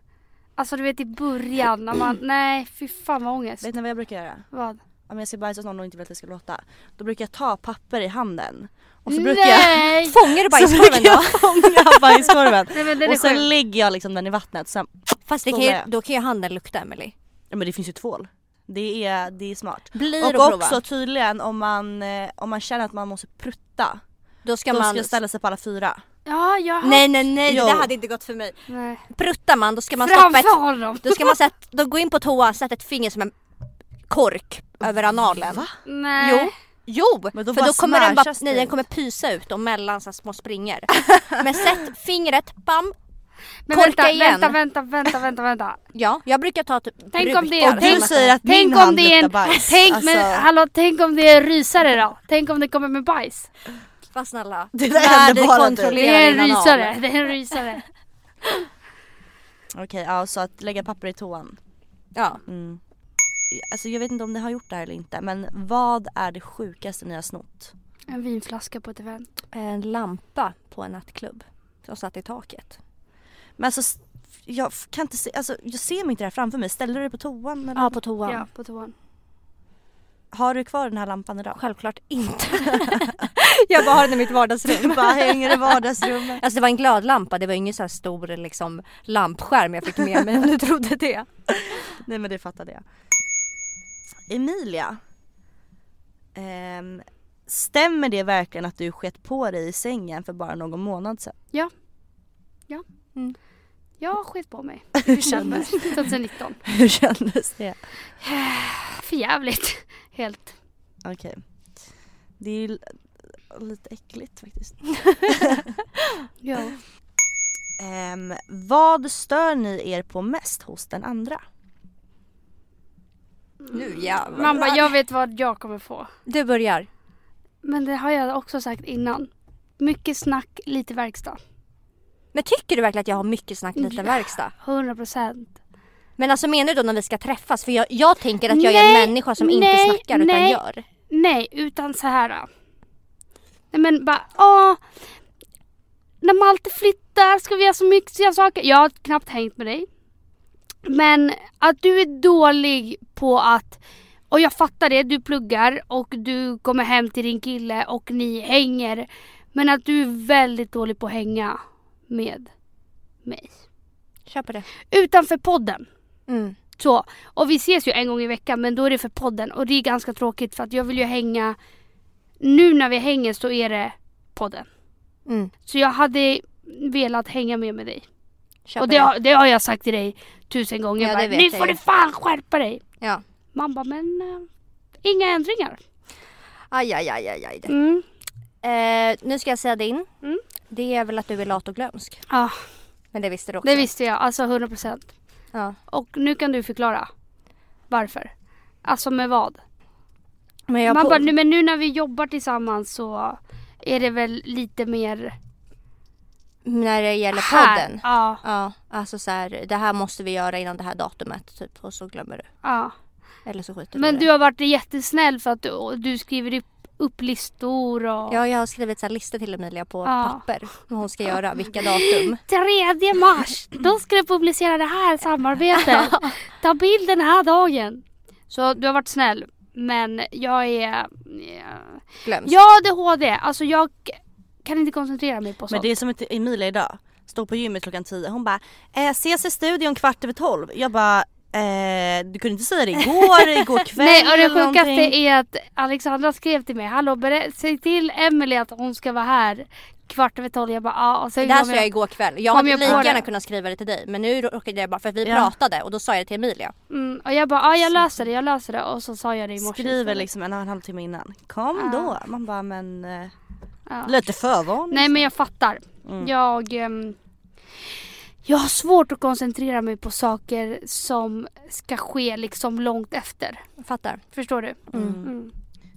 Speaker 2: Alltså du vet i början när man, nej fy fan vad ångest.
Speaker 1: Vet ni vad jag brukar göra?
Speaker 2: Vad?
Speaker 1: Om jag ska bajsa hos någon och inte vill att det ska låta. Då brukar jag ta papper i handen. Och så brukar jag,
Speaker 2: nej!
Speaker 3: Fångar du
Speaker 1: så brukar
Speaker 3: bajskorven då?
Speaker 1: jag fånga bajskorven.
Speaker 2: Nej men den är
Speaker 1: Och sen
Speaker 2: sjuk.
Speaker 1: lägger jag liksom den i vattnet. Sen,
Speaker 3: Fast det kan
Speaker 1: Fångar
Speaker 3: ju,
Speaker 1: jag.
Speaker 3: då kan ju handen lukta Emily.
Speaker 1: ja, men det finns ju tvål. Det är, det är smart.
Speaker 3: Blir och,
Speaker 1: Och
Speaker 3: prova.
Speaker 1: också tydligen om man, eh, om man känner att man måste prutta.
Speaker 3: då ska
Speaker 1: Då
Speaker 3: man...
Speaker 1: ska jag ställa sig på alla fyra.
Speaker 2: Ja, jag har...
Speaker 3: Nej nej nej
Speaker 1: Jo.
Speaker 3: det där hade inte gått för mig.
Speaker 2: nej.
Speaker 3: Pruttar man då ska man stoppa ett...
Speaker 2: Framför honom!
Speaker 3: Då ska man sätta, då gå in på toa, sätta ett finger som en kork över analen.
Speaker 1: Va?
Speaker 2: Nej.
Speaker 3: Jo. Jo!
Speaker 1: Men då
Speaker 3: för
Speaker 1: bara
Speaker 3: då kommer den, bara,
Speaker 1: smashas
Speaker 3: nej,
Speaker 1: det.
Speaker 3: den kommer pysa ut och mellan så här små springor. Men sätt fingret, bam!
Speaker 2: Men
Speaker 3: Korka
Speaker 2: vänta,
Speaker 3: igen.
Speaker 2: vänta, vänta, vänta, vänta, vänta.
Speaker 3: Ja, jag brukar ta typ
Speaker 2: Tänk om det
Speaker 3: brukar
Speaker 2: är-
Speaker 1: Och
Speaker 2: Och
Speaker 1: du
Speaker 2: du
Speaker 1: säger att
Speaker 2: Tänk
Speaker 1: min
Speaker 2: om
Speaker 1: hand
Speaker 2: det är
Speaker 1: luktar
Speaker 2: en...
Speaker 1: bajs. Alltså,
Speaker 2: Tänk, men, hallå, tänk om det är en rysare då? Tänk om det kommer med bajs?
Speaker 3: Vad snälla.
Speaker 1: Det där
Speaker 3: Lär
Speaker 1: händer
Speaker 3: dig
Speaker 1: bara
Speaker 3: kontrollera
Speaker 2: Det är en
Speaker 3: din anal.
Speaker 2: rysare, det är en rysare.
Speaker 1: Okej, ja, så att lägga papper i toan.
Speaker 3: Ja.
Speaker 1: Mm. Alltså jag vet inte om ni har gjort det här eller inte men vad är det sjukaste ni har snott?
Speaker 2: En vinflaska på ett event.
Speaker 3: En lampa på en nattklubb som satt i taket.
Speaker 1: Men alltså s- jag f- kan inte se, alltså jag ser mig inte det här framför mig. Ställer du det på toan eller?
Speaker 3: Ja, på toan.
Speaker 2: Ja, på toan.
Speaker 1: Har du kvar den här lampan idag?
Speaker 3: Självklart inte. jag bara har den i mitt vardagsrum.
Speaker 1: Den bara hänger i vardagsrummet.
Speaker 3: Alltså det var en glödlampa, det var ingen så här stor liksom, lampskärm jag fick med mig om du trodde det.
Speaker 1: Nej men det fattade jag. Emilia. Ehm, stämmer det verkligen att du skett på dig i sängen för bara någon månad sedan?
Speaker 2: Jag sket på mig. Hur kändes 2019.
Speaker 1: Hur kändes det?
Speaker 2: För jävligt. Helt.
Speaker 1: Okej. Det är ju l- lite äckligt faktiskt.
Speaker 2: Ja.
Speaker 1: Ehm, vad stör ni er på mest hos den andra?
Speaker 3: Nu jävlar.
Speaker 2: Man bara, jag vet vad jag kommer få.
Speaker 3: Du börjar.
Speaker 2: Men det har jag också sagt innan. Mycket snack, lite verkstad.
Speaker 3: Men tycker du verkligen att jag har mycket snack lite
Speaker 2: Ja.
Speaker 3: verkstad?
Speaker 2: 100 procent.
Speaker 3: Men alltså menar du då när vi ska träffas? För jag, jag tänker att jag är
Speaker 2: Nej,
Speaker 3: en människa som inte
Speaker 2: nej,
Speaker 3: snackar utan
Speaker 2: nej.
Speaker 3: gör.
Speaker 2: Nej, utan så här. äh. Nej men bara, åh. När Malte flyttar ska vi göra så mycket göra saker. Jag har knappt hängt med dig. Men att du är dålig på att, och jag fattar det, du pluggar och du kommer hem till din kille och ni hänger. Men att du är väldigt dålig på att hänga med mig.
Speaker 3: Kör på det.
Speaker 2: Utanför podden.
Speaker 3: Mm.
Speaker 2: Så, och vi ses ju en gång i veckan men då är det för podden och det är ganska tråkigt för att jag vill ju hänga Nu när vi hänger så är det podden.
Speaker 3: Mm.
Speaker 2: Så jag hade velat hänga med med dig.
Speaker 3: Kör
Speaker 2: och
Speaker 3: på
Speaker 2: det har, det har jag sagt till dig tusen gånger.
Speaker 3: Ja,
Speaker 2: bara,
Speaker 3: det vet
Speaker 2: nu
Speaker 3: jag
Speaker 2: får
Speaker 3: ju."
Speaker 2: du fan skärpa dig!
Speaker 3: Ja.
Speaker 2: Man bara, men eh, inga ändringar.
Speaker 3: Aj, aj, aj, aj, aj.
Speaker 2: Mm.
Speaker 3: Eh, nu ska jag säga din.
Speaker 2: Mm.
Speaker 3: Det är väl att du är lat och glömsk.
Speaker 2: Ja,
Speaker 3: Men det visste du också.
Speaker 2: det visste jag, alltså 100%.
Speaker 3: Ja.
Speaker 2: Och nu kan du förklara varför. Alltså med vad?
Speaker 3: Men jag
Speaker 2: Man
Speaker 3: på-
Speaker 2: bara, nu, men nu när vi jobbar tillsammans så är det väl lite mer
Speaker 3: när det gäller
Speaker 2: Här.
Speaker 3: podden.
Speaker 2: Ja,
Speaker 3: Ja, alltså så här, det här måste vi göra innan det här datumet typ och så glömmer du.
Speaker 2: ja.
Speaker 3: Eller så skiter
Speaker 2: Men
Speaker 3: du i
Speaker 2: du har varit jättesnäll för att du, du skriver upp, upp listor och...
Speaker 3: det. Ja, jag har skrivit så här listor till Emilia på
Speaker 2: Ja.
Speaker 3: papper vad hon ska göra, vilka datum.
Speaker 2: 3 mars, då ska du publicera det här samarbetet. Ta bild den här dagen. Så du har varit snäll. Men jag är... eh,
Speaker 3: Glöms.
Speaker 2: Jag har ADHD, alltså jag kan inte koncentrera mig på
Speaker 1: Men
Speaker 2: sånt.
Speaker 1: det är som ett Emilia idag. Står på gymmet klockan 10. Hon bara eh, ses i studion kvart över 12. Jag bara eh, du kunde inte säga det igår, igår kväll
Speaker 2: Nej och det
Speaker 1: eller
Speaker 2: sjukaste
Speaker 1: någonting.
Speaker 2: är att Alexandra skrev till mig, hallå berä- säg till Emelie att hon ska vara här kvart över tolv. Jag bara ja och sen
Speaker 3: Det här
Speaker 2: kom
Speaker 3: sa
Speaker 2: jag-
Speaker 3: jag igår kväll. Jag
Speaker 2: Kom
Speaker 3: hade
Speaker 2: jag på
Speaker 3: lika gärna
Speaker 2: det?
Speaker 3: kunnat skriva det till dig men nu råkade jag bara för att vi
Speaker 1: Ja.
Speaker 3: pratade och då sa jag det till Emilia.
Speaker 2: Mm, och jag bara, ja jag löser det, jag löser det. Och så sa jag det i morse.
Speaker 1: Skriver
Speaker 2: istället.
Speaker 1: liksom en och en halv timme innan. Kom
Speaker 2: Ja.
Speaker 1: då. Man bara men eh,
Speaker 2: Ja.
Speaker 1: Lite för vanligt.
Speaker 2: Nej men jag fattar.
Speaker 1: Mm.
Speaker 2: Jag, ehm, jag har svårt att koncentrera mig på saker som ska ske liksom långt efter.
Speaker 3: Fattar.
Speaker 2: Förstår du?
Speaker 1: Mm.
Speaker 2: Mm.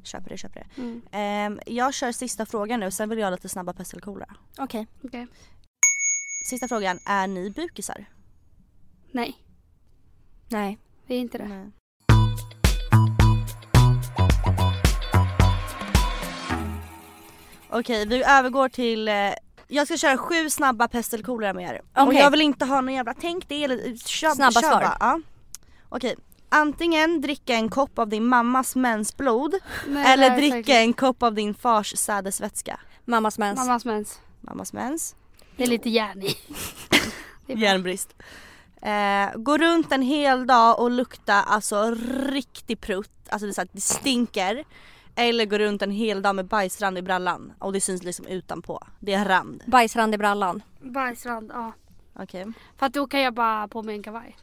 Speaker 1: Köper det, köper det.
Speaker 2: Mm.
Speaker 1: Ehm, jag kör sista frågan nu, sen vill jag ha lite snabba pest eller kolera.
Speaker 3: Okej.
Speaker 2: Okej.
Speaker 1: Sista frågan, är ni bukisar?
Speaker 2: Nej,
Speaker 3: Nej.
Speaker 2: vi är inte det.
Speaker 1: Nej. Okej, vi övergår till... eh, Jag ska köra sju snabba pest eller kolera med er. Och
Speaker 3: Okej.
Speaker 1: jag vill inte ha någon jävla tänk det eller kör,
Speaker 3: Snabba
Speaker 1: kör
Speaker 3: svar.
Speaker 1: bara, Ja. Okej, antingen dricka en kopp av din mammas mensblod
Speaker 2: Nej, det
Speaker 1: eller
Speaker 2: är
Speaker 1: dricka
Speaker 2: säkert-
Speaker 1: en kopp av din fars sädesvätska.
Speaker 3: Mammas mens.
Speaker 2: Mammas mens.
Speaker 1: Mammas mens.
Speaker 2: Det är lite järn i.
Speaker 3: Typ.
Speaker 2: Det är bra.
Speaker 1: Järnbrist. Eh, gå runt en hel dag och lukta alltså riktig prutt, alltså det, är så att det stinker. Eller gå runt en hel dag med bajsrand i brallan och det syns liksom utanpå. Det är rand.
Speaker 3: Bajsrand i brallan.
Speaker 2: Bajsrand, ja.
Speaker 1: Okej.
Speaker 2: För att då kan jag bara ha på mig en kavaj.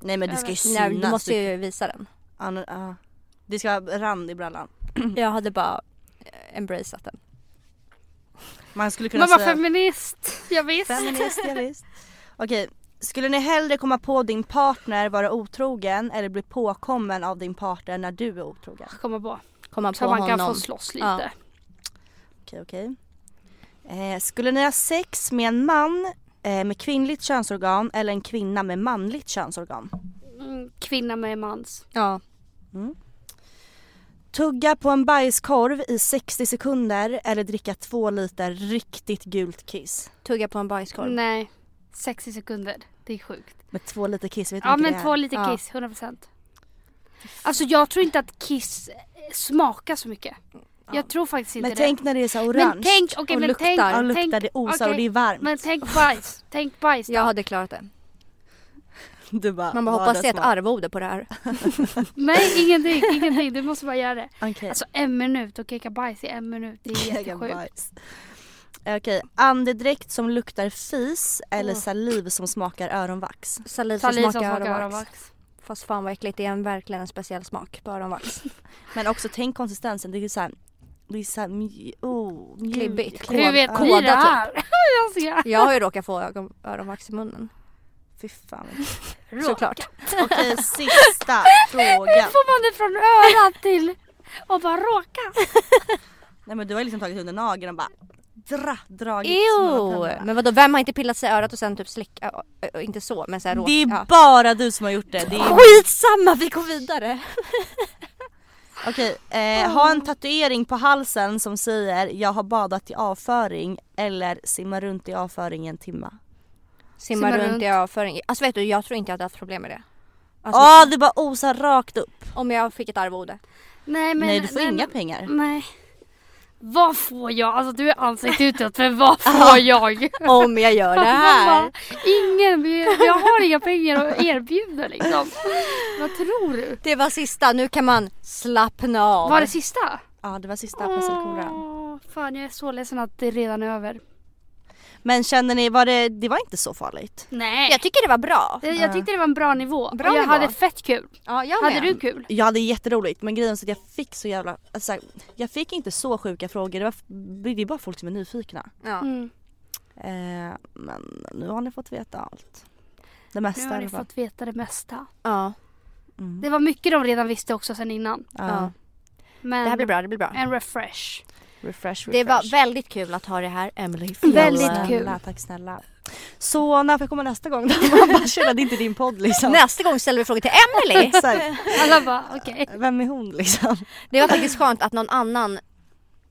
Speaker 1: Nej men det ska ju
Speaker 3: Nej,
Speaker 1: synas.
Speaker 3: du måste ju visa den.
Speaker 1: Ja, nu- ja. Det ska vara rand i brallan.
Speaker 3: Jag hade bara eh, embraceat den.
Speaker 1: Man skulle kunna
Speaker 2: Man var
Speaker 1: säga
Speaker 2: feminist. Jag visst.
Speaker 1: feminist, ja, visst. Okej. Skulle ni hellre komma på din partner vara otrogen eller bli påkommen av din partner när du är otrogen?
Speaker 2: Komma på.
Speaker 3: Komma på
Speaker 2: Så man
Speaker 3: honom.
Speaker 2: kan få slåss lite.
Speaker 3: Ja.
Speaker 1: Okej, okej. Eh, skulle ni ha sex med en man eh, med kvinnligt könsorgan eller en kvinna med manligt könsorgan?
Speaker 2: Mm, Kvinna med mans.
Speaker 3: Ja.
Speaker 1: Tugga på en bajskorv i 60 sekunder eller dricka två liter riktigt gult kiss?
Speaker 3: Tugga på en bajskorv.
Speaker 2: Nej. 60 sekunder. Det är sjukt.
Speaker 1: Med två liter kiss, vet ni
Speaker 2: Ja
Speaker 1: vilket
Speaker 2: men
Speaker 1: det är?
Speaker 2: två lite
Speaker 3: Ja.
Speaker 2: kiss, 100%. Alltså jag tror inte att kiss eh, smakar så mycket. Jag tror faktiskt inte
Speaker 1: Men
Speaker 2: det.
Speaker 1: tänk när det är så här orange.
Speaker 2: Men tänk, okej
Speaker 3: och
Speaker 2: men
Speaker 3: luktar.
Speaker 2: tänk,
Speaker 1: ja,
Speaker 3: Ja,
Speaker 1: luktar,
Speaker 2: tänk,
Speaker 1: det osar och
Speaker 2: okej.
Speaker 1: det är varmt.
Speaker 2: men tänk bajs, tänk bajs då.
Speaker 3: Jag hade klarat det.
Speaker 1: Du bara,
Speaker 3: Man bara
Speaker 1: vad
Speaker 3: hoppas det är ett
Speaker 1: smakar.
Speaker 3: arvode på det här.
Speaker 2: Nej ingenting, ingenting, du måste bara göra det.
Speaker 1: Okej.
Speaker 2: Alltså en minut och keka bajs i en minut, det är
Speaker 1: Jag kan
Speaker 2: jättesjukt.
Speaker 1: bajs. Okej, andedräkt som luktar fis eller
Speaker 3: Åh.
Speaker 1: saliv som smakar öronvax?
Speaker 3: Saliv som
Speaker 2: Saliv som
Speaker 3: smakar
Speaker 2: smakar
Speaker 3: öronvax.
Speaker 2: öronvax.
Speaker 3: Fast fan vad äckligt, det är en, verkligen en speciell smak på öronvax.
Speaker 1: Men också tänk konsistensen, det är så här, det är så här mj- oh, mjuk-
Speaker 3: Klibbigt.
Speaker 1: Kod-
Speaker 2: Hur vet
Speaker 1: ja.
Speaker 2: ni det
Speaker 3: Koda,
Speaker 2: här? jag ser.
Speaker 3: Jag har ju råkat få ögon, öronvax i munnen.
Speaker 1: Fy fan. vad äckligt.
Speaker 3: Såklart.
Speaker 1: Okej, sista
Speaker 2: Hur
Speaker 1: frågan.
Speaker 2: får man det från örat till och bara råka?
Speaker 1: Nej men du har ju liksom tagit under nageln och bara dra, dragit.
Speaker 3: Ew.
Speaker 1: några tänder.
Speaker 3: Men vadå, vem har inte pillat sig i örat och sen typ slicka, ö, ö, inte så men såhär råk.
Speaker 1: Det är
Speaker 3: ja.
Speaker 1: bara du som har gjort det. det är...
Speaker 3: Skitsamma, vi går vidare!
Speaker 1: Okej, eh, ha en tatuering på halsen som säger jag har badat i avföring eller simma runt i avföring i en timma.
Speaker 3: Simma,
Speaker 2: Simma
Speaker 3: runt,
Speaker 2: runt.
Speaker 3: i avföring. Alltså vet du, jag tror inte jag hade haft problem med det.
Speaker 1: Åh
Speaker 3: Alltså,
Speaker 2: Ah!
Speaker 1: det Ah, bara osar rakt upp.
Speaker 3: Om jag fick ett arvode.
Speaker 2: Nej men
Speaker 1: nej du får inga
Speaker 2: men-
Speaker 1: pengar.
Speaker 2: Nej. Vad får jag? Alltså du är ansiktet utåt för vad får jag?
Speaker 3: Om jag gör det här!
Speaker 2: Mamma, Ingen, vi- jag har inga pengar att erbjuda liksom. Vad tror du?
Speaker 3: Det var sista, nu kan man slappna av.
Speaker 2: Var det sista?
Speaker 1: Ja det var sista pest eller kolera.
Speaker 2: Åh, fan jag är så ledsen att det redan är över.
Speaker 1: Men känner ni, var det, det var inte så farligt?
Speaker 2: Nej.
Speaker 3: Jag tycker det var bra.
Speaker 2: Jag, jag tyckte det var en bra nivå.
Speaker 3: Bra
Speaker 2: jag
Speaker 3: nivå.
Speaker 2: hade fett kul.
Speaker 3: Ja, jag
Speaker 2: Hade
Speaker 3: med.
Speaker 2: du kul?
Speaker 1: Jag hade jätteroligt men grejen är så att jag fick så jävla, alltså, jag fick inte så sjuka frågor. Det, var, det är bara folk som är nyfikna.
Speaker 3: Ja.
Speaker 2: Mm.
Speaker 1: Eh, men nu har ni fått veta allt. Det mesta
Speaker 2: Nu
Speaker 1: i
Speaker 2: har
Speaker 1: alla
Speaker 2: ni
Speaker 1: fall.
Speaker 2: fått veta det mesta.
Speaker 3: Ja.
Speaker 1: Mm.
Speaker 2: Det var mycket de redan visste också sen innan.
Speaker 1: ja.
Speaker 3: ja.
Speaker 2: Men
Speaker 3: Det här blir bra, det blir bra.
Speaker 2: en refresh.
Speaker 1: Refresh, refresh.
Speaker 3: Det var väldigt kul att ha det här Emily.
Speaker 2: Väldigt
Speaker 1: snälla,
Speaker 2: kul.
Speaker 1: Tack snälla. Så när får jag komma nästa gång då? Man bara känner det är inte din podd liksom.
Speaker 3: Nästa gång ställer vi frågor till Emily.
Speaker 1: Exakt.
Speaker 2: Alla bara okej.
Speaker 1: Vem är hon liksom?
Speaker 3: Det var faktiskt skönt att någon annan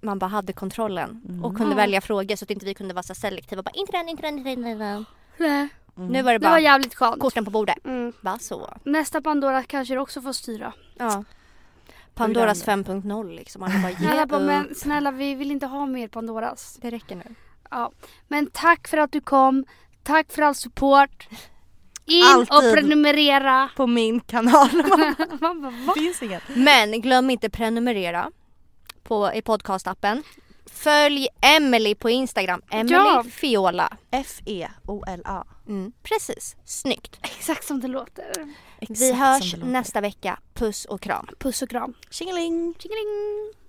Speaker 3: man bara hade kontrollen och kunde
Speaker 2: Ja.
Speaker 3: välja frågor så att inte vi kunde vara så selektiva. och Bara, inte den, inte den, inte den. Inte den.
Speaker 2: Nej.
Speaker 3: Nu var det
Speaker 2: Det var
Speaker 3: bara
Speaker 2: jävligt skönt.
Speaker 3: korten på bordet.
Speaker 2: Mm.
Speaker 3: Bara så.
Speaker 2: Nästa Pandora kanske du också får styra.
Speaker 3: Ja. Pandoras 5.0 liksom. Alla bara, ge
Speaker 2: Alla bara,
Speaker 3: upp.
Speaker 2: men snälla vi vill inte ha mer Pandoras.
Speaker 3: Det räcker nu.
Speaker 2: Ja. Men tack för att du kom. Tack för all support. In
Speaker 1: Alltid.
Speaker 2: och prenumerera.
Speaker 1: På min kanal.
Speaker 2: Man bara, va?
Speaker 1: Det finns inget.
Speaker 3: Men glöm inte prenumerera på, i podcastappen. Följ Emily på Instagram. Emily
Speaker 2: Ja.
Speaker 3: Fiola.
Speaker 1: E F-E-O-L-A.
Speaker 3: Mm, precis. Snyggt.
Speaker 2: Exakt som det låter.
Speaker 3: Vi hörs nästa vecka. Puss och kram.
Speaker 2: Puss och kram.
Speaker 1: Tjingeling.
Speaker 2: Tjingeling.